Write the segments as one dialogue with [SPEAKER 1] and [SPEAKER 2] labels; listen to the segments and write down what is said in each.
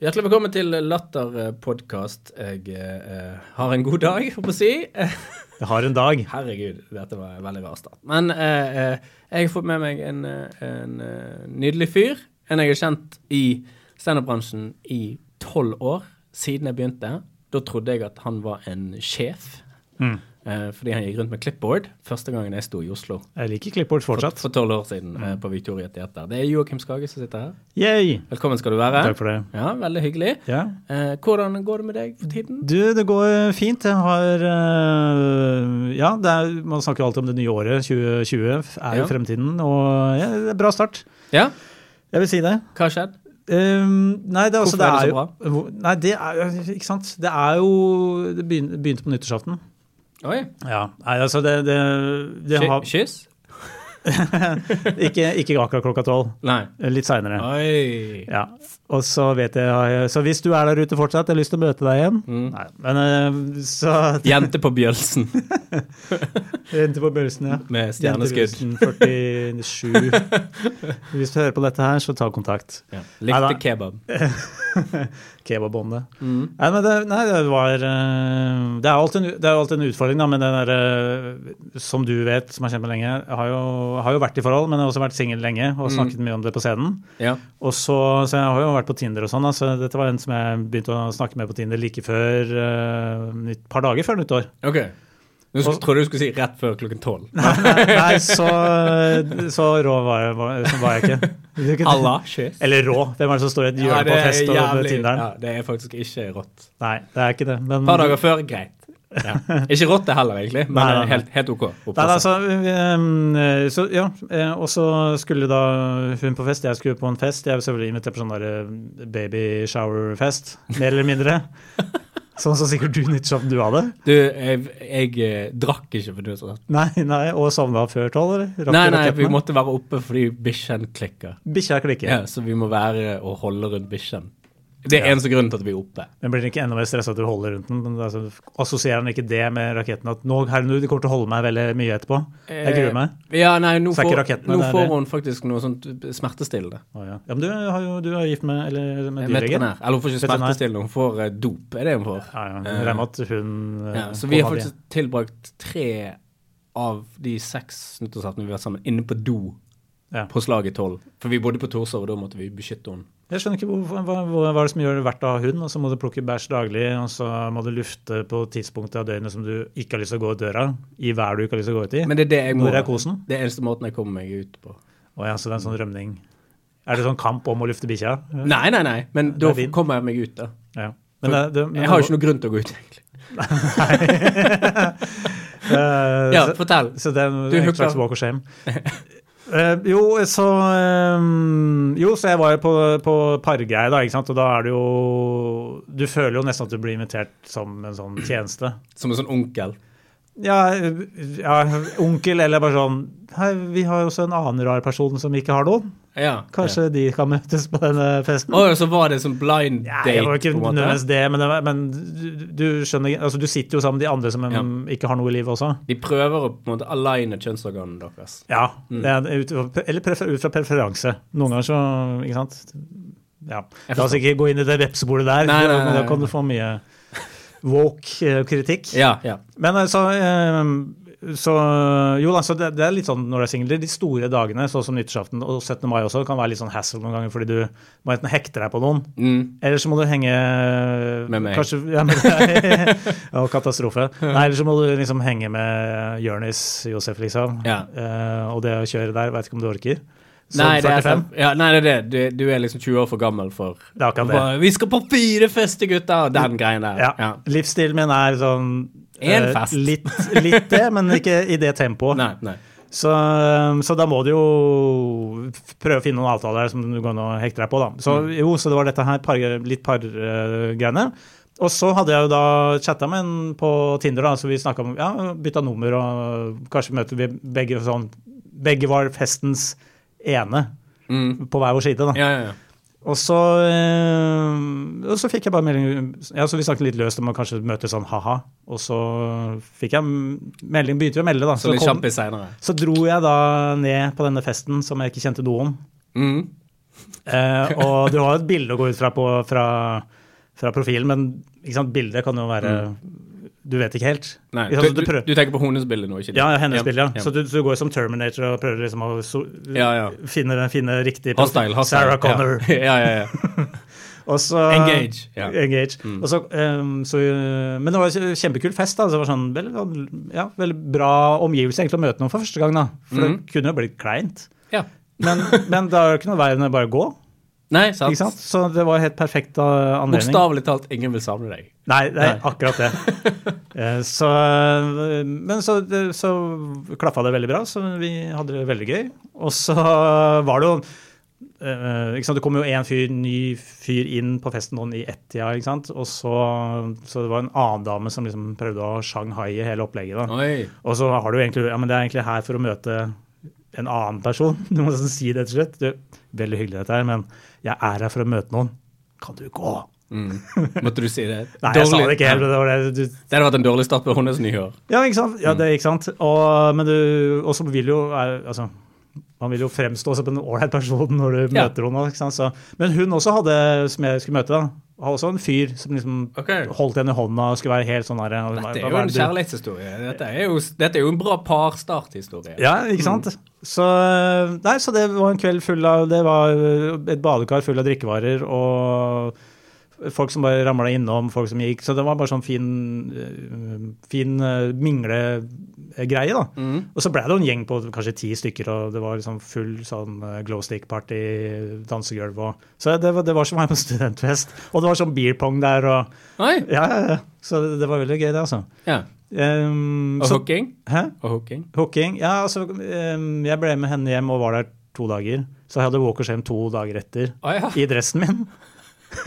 [SPEAKER 1] Hjertelig velkommen til Latterpodkast. Jeg eh, har en god dag, holdt på å si. Eh,
[SPEAKER 2] Jeg har en dag.
[SPEAKER 1] Herregud, dette var en veldig rar start. Men eh, eh, jeg har fått med meg en, eh, en eh, nydelig fyr. En jeg har kjent i standup-bransjen i tolv år, siden jeg begynte. Da trodde jeg at han var en sjef,
[SPEAKER 2] Mm.
[SPEAKER 1] eh, fordi han gikk rundt med clipboard første gangen jeg sto i Oslo.
[SPEAKER 2] Jeg liker clipboard fortsatt.
[SPEAKER 1] For tolv år siden, eh, på Victoria Theater. Det er Joakim Skage som sitter her.
[SPEAKER 2] Yay!
[SPEAKER 1] Velkommen skal du være.
[SPEAKER 2] Takk for det.
[SPEAKER 1] Ja, veldig hyggelig.
[SPEAKER 2] Ja.
[SPEAKER 1] Eh, hvordan går det med deg for tiden?
[SPEAKER 2] Du, det går fint. Jeg har øh, Ja, det er, man snakker jo alltid om det nye året. 2020 er jo
[SPEAKER 1] Ja.
[SPEAKER 2] fremtiden, og ja, det er bra start.
[SPEAKER 1] Ja,
[SPEAKER 2] Jeg vil si det.
[SPEAKER 1] hva har skjedd?
[SPEAKER 2] Ehm, nei, det er,
[SPEAKER 1] Hvorfor
[SPEAKER 2] altså, det
[SPEAKER 1] er det så
[SPEAKER 2] er jo, hvor- Nei, det er Ikke sant. Det er jo Det begyn- begynte på nyttårsaften.
[SPEAKER 1] Oi,
[SPEAKER 2] Ja. Nei, altså, det, det, det
[SPEAKER 1] ky-
[SPEAKER 2] har
[SPEAKER 1] kyss?
[SPEAKER 2] ikke, ikke akkurat klokka tolv.
[SPEAKER 1] Nei.
[SPEAKER 2] Litt seinere.
[SPEAKER 1] Oi.
[SPEAKER 2] Ja, og så vet jeg Så hvis du er der ute fortsatt, jeg har lyst til å møte deg igjen. Nei, men eh, så
[SPEAKER 1] Mm. Jente på Bjølsen
[SPEAKER 2] Jente på Børsen, ja.
[SPEAKER 1] med
[SPEAKER 2] Jente
[SPEAKER 1] stjerneskudd.
[SPEAKER 2] Børsen, 47. Hvis du hører på dette her, så ta kontakt.
[SPEAKER 1] Ja.
[SPEAKER 2] Neida.
[SPEAKER 1] Likte kebab.
[SPEAKER 2] Kebabåndet.
[SPEAKER 1] Mm.
[SPEAKER 2] Nei, men det, nei, det var eh, Det er jo alltid, en- det er jo alltid en utfordring, da, men den derre Som du vet, som har kjent meg lenge, jeg har jo, har jo vært i forhold, men jeg har også vært singel lenge og snakket mye om det på scenen.
[SPEAKER 1] Ja.
[SPEAKER 2] Og så, så jeg har jo vært på Tinder og sånn, da, så dette var en som jeg begynte å snakke med på Tinder like før eh, nytt- par dager før nyttår.
[SPEAKER 1] OK. Nå skulle,
[SPEAKER 2] Og-
[SPEAKER 1] trodde du skulle si rett før klokken tolv.
[SPEAKER 2] Nei, nei så, så rå var jeg, var, så var jeg ikke. Du kunne-
[SPEAKER 1] Allah, kyss.
[SPEAKER 2] Eller rå. Hvem er det som står i et hjørne
[SPEAKER 1] Ja, det
[SPEAKER 2] på
[SPEAKER 1] er
[SPEAKER 2] fest og Mm. med
[SPEAKER 1] jævlig-
[SPEAKER 2] Tinderen?
[SPEAKER 1] Ja, det er faktisk ikke rått.
[SPEAKER 2] Nei, det er ikke det. Men,
[SPEAKER 1] Et par dager før, greit. Ja. Ikke rått det heller, egentlig, men
[SPEAKER 2] Nei, nei, nei.
[SPEAKER 1] Helt, helt OK.
[SPEAKER 2] Nei, nei, altså, eh, så, ja, eh, og så skulle da hun på fest, jeg skulle på en fest. Jeg var selvfølgelig invitert på sånn der eh, baby shower-fest, mer eller mindre. Sånn som sikkert du nyttårsaften du hadde.
[SPEAKER 1] Du, jeg, jeg eh, drakk ikke for nyttårsaften.
[SPEAKER 2] Nei, nei, og sovna før tolv, eller? Rakk
[SPEAKER 1] Nei,
[SPEAKER 2] du
[SPEAKER 1] nei, vi
[SPEAKER 2] rakettene?
[SPEAKER 1] måtte være oppe fordi bikkjen klikker.
[SPEAKER 2] Bikkja klikker.
[SPEAKER 1] Ja, så vi må være og holde rundt bikkjen. Det er eneste grunnen til at vi er oppe.
[SPEAKER 2] Men blir den ikke enda mer stressa at du holder rundt den? Men altså, assosierer den ikke det med raketten? At nå, herre, nå, de kommer til å holde meg veldig mye etterpå. Jeg
[SPEAKER 1] Eh,
[SPEAKER 2] gruer meg.
[SPEAKER 1] Ja, nei, nå
[SPEAKER 2] Så er
[SPEAKER 1] får,
[SPEAKER 2] ikke raketten,
[SPEAKER 1] nå
[SPEAKER 2] det er
[SPEAKER 1] får
[SPEAKER 2] det.
[SPEAKER 1] hun faktisk noe sånt smertestillende.
[SPEAKER 2] Å, ja. ja, men du, har jo, du er gift med, eller, med dyrlegen.
[SPEAKER 1] Veterinær. Eller hun får ikke
[SPEAKER 2] Veterinær.
[SPEAKER 1] smertestillende, hun får eh, dop. Er det hun får?
[SPEAKER 2] Ja, ja, jeg regner med at hun eh,
[SPEAKER 1] Ja, så vi har
[SPEAKER 2] kona di-
[SPEAKER 1] faktisk tilbrakt tre av de seks nyttårsaftene vi har vært sammen, inne på do
[SPEAKER 2] Ja.
[SPEAKER 1] på slaget tolv. For vi bodde på Torshov, og da måtte vi beskytte henne.
[SPEAKER 2] Jeg skjønner ikke hvorfor- hva, hva, hva er det som gjør det verdt å ha hund, og så må du plukke bæsj daglig, og så må du lufte på tidspunktet av døgnet som du ikke har lyst til å gå ut døra, i været du ikke har lyst til å gå ut i.
[SPEAKER 1] Men det er det jeg må.
[SPEAKER 2] Hvor er kosen?
[SPEAKER 1] Det er eneste måten jeg kommer meg ut på.
[SPEAKER 2] Å ja, så det er en sånn rømning. Er det sånn kamp om å lufte bikkja?
[SPEAKER 1] Nei, nei, nei, men da
[SPEAKER 2] er din.
[SPEAKER 1] kommer jeg meg ut, da.
[SPEAKER 2] Ja. Men det, det, men
[SPEAKER 1] Jeg har jo ikke noe grunn til å gå ut, egentlig.
[SPEAKER 2] Eh,
[SPEAKER 1] Ja,
[SPEAKER 2] så-
[SPEAKER 1] fortell.
[SPEAKER 2] Så det er en
[SPEAKER 1] Du
[SPEAKER 2] en
[SPEAKER 1] hooker.
[SPEAKER 2] slags walk of shame. Eh, jo, så eh, Jo, så jeg var jo på, på pargreie, da, ikke sant. Og da er det jo Du føler jo nesten at du blir invitert som en sånn tjeneste.
[SPEAKER 1] Som en sånn onkel.
[SPEAKER 2] Ja, eh, ja onkel, eller bare sånn Hei, vi har jo også en annen rar person som ikke har noen.
[SPEAKER 1] Ja.
[SPEAKER 2] Kanskje de kan møtes på denne festen?
[SPEAKER 1] Å, ja, så var det sånn blind
[SPEAKER 2] Ja,
[SPEAKER 1] date,
[SPEAKER 2] det var ikke
[SPEAKER 1] på en måte?
[SPEAKER 2] nødvendigvis det, men, det var, men du, du skjønner altså, Du sitter jo sammen med de andre som ehm, ikke har noe i livet også.
[SPEAKER 1] De prøver å på en måte align kjønnsorganene deres.
[SPEAKER 2] Ja.
[SPEAKER 1] Mm.
[SPEAKER 2] Det er ut, eller prefer, ut fra preferanse. Noen ganger så Ikke sant? Ja.
[SPEAKER 1] Jeg
[SPEAKER 2] La oss ikke gå inn i det vepsebolet der,
[SPEAKER 1] Nei, nei, nei,
[SPEAKER 2] men da
[SPEAKER 1] nei.
[SPEAKER 2] kan du få mye woke-kritikk.
[SPEAKER 1] Ja, ja.
[SPEAKER 2] Men eh, så, eh, så Jo da, så det, det er litt sånn når du er singel. De store dagene, sånn som nyttårsaften og 17. mai også, kan være litt sånn hassle noen ganger fordi du må enten hekte deg på noen,
[SPEAKER 1] Mm.
[SPEAKER 2] eller så må du henge
[SPEAKER 1] Med meg.
[SPEAKER 2] Kanskje, ja, med deg. ja, katastrofe. Nei, eller så må du liksom henge med Jonis Josef, liksom.
[SPEAKER 1] Ja.
[SPEAKER 2] Eh, og det å kjøre der, veit ikke om du orker. Som
[SPEAKER 1] Nei, det er,
[SPEAKER 2] 45.
[SPEAKER 1] sant. ja, nei, det er det. Du, du er liksom 20 år for gammel for
[SPEAKER 2] Det er akkurat det.
[SPEAKER 1] Bare, Vi skal på firefest, gutter! Og den greien der.
[SPEAKER 2] Ja. Livsstilen min er sånn
[SPEAKER 1] En
[SPEAKER 2] eh,
[SPEAKER 1] fest.
[SPEAKER 2] litt, litt det, men ikke i det tempoet.
[SPEAKER 1] Nei, nei.
[SPEAKER 2] Så, eh, så da må du jo f- prøve å finne noen avtaler som du kan å hekte deg på, da. Så
[SPEAKER 1] Mm.
[SPEAKER 2] jo, så det var dette her, par, litt pargreiene. og så hadde jeg jo da chatta med en på Tinder, da, så vi snakka om ja, bytta nummer og kanskje møter vi begge sånn Begge var festens ene
[SPEAKER 1] Mm.
[SPEAKER 2] på hver vår side, da.
[SPEAKER 1] Ja, ja, ja.
[SPEAKER 2] Og så, eh, og så fikk jeg bare melding ja, så Vi snakket litt løst om å kanskje møtes sånn ha-ha. Og så fikk jeg melding, begynte vi å melde, da.
[SPEAKER 1] Så litt
[SPEAKER 2] kom-
[SPEAKER 1] kjappis seinere.
[SPEAKER 2] så dro jeg da ned på denne festen som jeg ikke kjente noe om.
[SPEAKER 1] Mm.
[SPEAKER 2] Eh, og du har jo et bilde å gå ut fra, på, fra, fra profilen, men ikke sant, bildet kan jo være Du vet ikke helt.
[SPEAKER 1] Mm. Nei, du,
[SPEAKER 2] Ikke sant, så
[SPEAKER 1] du,
[SPEAKER 2] du prøver-
[SPEAKER 1] du tenker på hennes bilde nå, ikke det?
[SPEAKER 2] Ja, ja, hennes bilde, ja.
[SPEAKER 1] ja.
[SPEAKER 2] Så du, du går som Terminator og prøver liksom å so
[SPEAKER 1] Ja, ja.
[SPEAKER 2] Finne, finne riktig
[SPEAKER 1] Hostile, hostile.
[SPEAKER 2] Sarah Connor.
[SPEAKER 1] Ja, ja, ja. ja.
[SPEAKER 2] Og så-
[SPEAKER 1] Engage, ja. Mm.
[SPEAKER 2] Engage. Og så, ehm, så, eh, men det var en kjempekul fest. da, så det var sånn, veldig, ja, veldig bra omgivelse egentlig å møte noen for første gang. da, For
[SPEAKER 1] Mhm.
[SPEAKER 2] det kunne jo blitt kleint.
[SPEAKER 1] ja.
[SPEAKER 2] Men, men det er jo ikke noe vei enn å bare gå.
[SPEAKER 1] Nei, sant.
[SPEAKER 2] ikke sant? Så det var helt perfekt eh, anledning.
[SPEAKER 1] Bokstavelig talt, ingen vil savne deg.
[SPEAKER 2] Nei, det er
[SPEAKER 1] Nei.
[SPEAKER 2] akkurat det. Eh, så, eh, men så, det- så klaffa det veldig bra, så vi hadde det veldig gøy. Og så var det jo eh, ikke sant? Det kom jo en fyr, ny fyr inn på festen noen i ett-tida, ikke sant? Og så, så det var en annen dame som liksom prøvde å shanghai hele opplegget. da.
[SPEAKER 1] Oi.
[SPEAKER 2] Og så har du egentlig Ja, men det er egentlig her for å møte en annen person. Du må nesten si det til slutt. Du, veldig hyggelig dette her, men jeg er her for å møte noen. Kan du gå?
[SPEAKER 1] Mm. Måtte du si det?
[SPEAKER 2] Nei, jeg sa det ikke helt.
[SPEAKER 1] Ja.
[SPEAKER 2] men Det var det du
[SPEAKER 1] Det hadde vært en dårlig start på hennes nyår.
[SPEAKER 2] Ja, ikke sant? Ja, det
[SPEAKER 1] Mm.
[SPEAKER 2] er ikke sant. Og, men du, og så vil jo er- altså, Man vil jo fremstå som en ålreit person når du
[SPEAKER 1] Ja.
[SPEAKER 2] møter henne. Ikke sant? Så, men hun også hadde, som jeg skulle møte, da, hadde også en fyr som liksom
[SPEAKER 1] Ok.
[SPEAKER 2] holdt henne i hånda og skulle være helt sånn her. og hun
[SPEAKER 1] Dette
[SPEAKER 2] bare,
[SPEAKER 1] er
[SPEAKER 2] "Hva
[SPEAKER 1] jo en
[SPEAKER 2] det du-"
[SPEAKER 1] kjærlighetshistorie. Dette er jo, dette er jo en bra parstarthistorie.
[SPEAKER 2] Ja, ikke sant? Så, nei, så det var en kveld full av Det var et badekar full av drikkevarer og folk som bare ramla innom, folk som gikk. Så det var bare sånn fin, eh, fin eh, minglegreie, da.
[SPEAKER 1] Mm.
[SPEAKER 2] Og så ble det jo en gjeng på kanskje ti stykker, og det var liksom full sånn eh, glow stick-party, dansegulv og Så det var, det var som å være på studentfest. Og det var sånn beer pong der og
[SPEAKER 1] Oi.
[SPEAKER 2] Ja, ja, ja. Så det, det var veldig gøy, det, altså.
[SPEAKER 1] Ja.
[SPEAKER 2] Ehm,
[SPEAKER 1] Og
[SPEAKER 2] så,
[SPEAKER 1] hooking.
[SPEAKER 2] hæ?
[SPEAKER 1] Og hooking.
[SPEAKER 2] Hooking? Ja, altså ehm, Jeg ble med henne hjem og var der to dager. Så jeg hadde walkers hjem to dager etter,
[SPEAKER 1] Å ja.
[SPEAKER 2] i dressen min.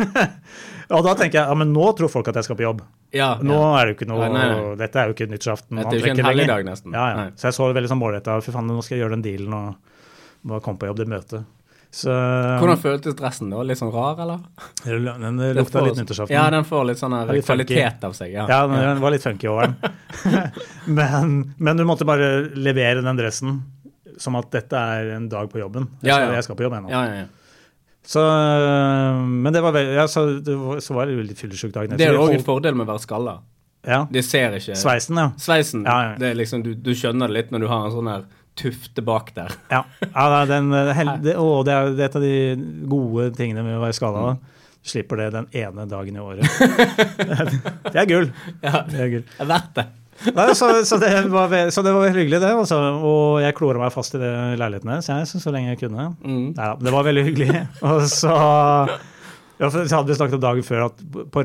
[SPEAKER 2] og da tenker jeg ja, men nå tror folk at jeg skal på jobb.
[SPEAKER 1] ja.
[SPEAKER 2] Nå er det jo ikke noe
[SPEAKER 1] Nei, nei, nei.
[SPEAKER 2] Dette er jo ikke nyttårsaften.
[SPEAKER 1] Dette
[SPEAKER 2] man
[SPEAKER 1] er jo ikke en
[SPEAKER 2] trekker lenger.
[SPEAKER 1] helligdag, nesten.
[SPEAKER 2] Ja, ja.
[SPEAKER 1] Nei.
[SPEAKER 2] Så jeg så veldig sånn målretta. Fy faen, nå skal jeg gjøre den dealen og bare komme på jobb det møtet. Så
[SPEAKER 1] Hvordan føltes dressen da? Litt sånn rar, eller?
[SPEAKER 2] Den lukta
[SPEAKER 1] får-
[SPEAKER 2] litt nyttårsaften.
[SPEAKER 1] Ja, den får litt sånn her
[SPEAKER 2] Ja, litt funky.
[SPEAKER 1] kvalitet av seg. Ja.
[SPEAKER 2] Ja, den, den var litt funky over den. men, men du måtte bare levere den dressen som at dette er en dag på jobben. Jeg
[SPEAKER 1] Ja,
[SPEAKER 2] skal,
[SPEAKER 1] ja.
[SPEAKER 2] Jeg skal på jobb ennå.
[SPEAKER 1] Ja, ja, ja.
[SPEAKER 2] Så, eh, men det var veldig ja, så, det var, så var det jo litt fyllesyk dagen
[SPEAKER 1] Det er jo òg en
[SPEAKER 2] etter.
[SPEAKER 1] fordel med å være skalla.
[SPEAKER 2] Ja,
[SPEAKER 1] De ser ikke
[SPEAKER 2] Sveisen, ja.
[SPEAKER 1] Sveisen.
[SPEAKER 2] Ja, ja.
[SPEAKER 1] Det er liksom, du, du skjønner det litt når du har en sånn her tufte bak der.
[SPEAKER 2] Ja, ja nei, den, eh, hel, det, å, det, er, det er et av de gode tingene med å være skada.
[SPEAKER 1] Mm.
[SPEAKER 2] Du slipper det den ene dagen i året. Det er gull.
[SPEAKER 1] Ja,
[SPEAKER 2] Det er gull.
[SPEAKER 1] det er verdt det.
[SPEAKER 2] Nei, så, så, det var, ve- så det var veldig hyggelig, det. Altså. Og jeg klora meg fast i det leiligheten hennes jeg, så, så lenge jeg kunne.
[SPEAKER 1] Mm.
[SPEAKER 2] Neida, det var veldig hyggelig. Og så ja, for så hadde vi snakket om dagen før at på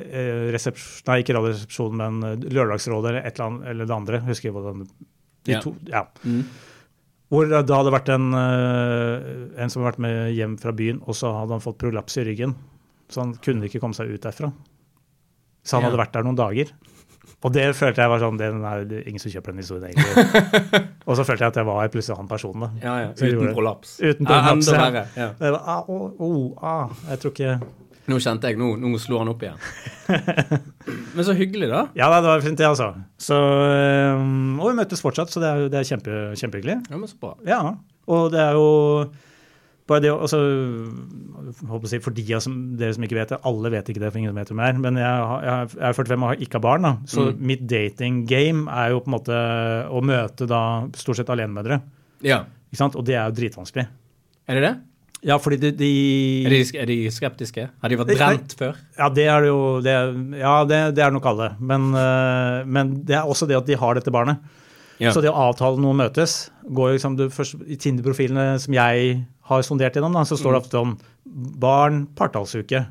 [SPEAKER 2] radioresepsjon, nei ikke radioresepsjonen, men eh, Lørdagsrådet eller et eller annet, eller det andre, husker jeg hva den de
[SPEAKER 1] Ja.
[SPEAKER 2] to, ja.
[SPEAKER 1] Mm.
[SPEAKER 2] Hvor det da hadde vært en, eh, en som hadde vært med hjem fra byen, og så hadde han fått prolaps i ryggen. Så han kunne ikke komme seg ut derfra. Så han
[SPEAKER 1] Ja.
[SPEAKER 2] hadde vært der noen dager. Og det følte jeg var sånn det er det er ingen som kjøper den historien, egentlig. og så følte jeg at jeg var plutselig han personen, da.
[SPEAKER 1] Ja, ja.
[SPEAKER 2] Så gjorde
[SPEAKER 1] Uten
[SPEAKER 2] det.
[SPEAKER 1] prolaps.
[SPEAKER 2] Uten
[SPEAKER 1] Ja,
[SPEAKER 2] prolaps,
[SPEAKER 1] enda
[SPEAKER 2] ja.
[SPEAKER 1] verre. Ja.
[SPEAKER 2] Det var, ah, oh, oh, ah. Jeg tror ikke
[SPEAKER 1] Nå kjente jeg, nå, nå slo han opp igjen. Men så hyggelig, da.
[SPEAKER 2] Ja, nei, det var fint, det, altså. Så, øhm, og vi møtes fortsatt, så det er, jo- det er kjempe, kjempehyggelig.
[SPEAKER 1] Ja, men så bra.
[SPEAKER 2] Ja, og det er jo bare det å- altså, jeg håper å si, For de av som, dere som ikke vet det, alle vet ikke det, for ingen vet hvem jeg er, men jeg, har- jeg, er- jeg er 45 og har ikke har barn, da. så
[SPEAKER 1] Mm.
[SPEAKER 2] mitt dating game er jo på en måte å møte da stort sett alenemødre.
[SPEAKER 1] Ja.
[SPEAKER 2] Ikke sant? Og det er jo dritvanskelig.
[SPEAKER 1] Er det det?
[SPEAKER 2] Ja, fordi de, de
[SPEAKER 1] Er de, er de skeptiske? Har de vært
[SPEAKER 2] Nei, nei.
[SPEAKER 1] brent før?
[SPEAKER 2] Ja, det er det jo det, Ja, det, det er nok alle. Men, eh, men det er også det at de har dette barnet.
[SPEAKER 1] Ja.
[SPEAKER 2] Så det å avtale noe å møtes går jo liksom det først, I Tinder-profilene som jeg har sondert gjennom, da, så står
[SPEAKER 1] Mm.
[SPEAKER 2] det ofte om barn, partallsuke.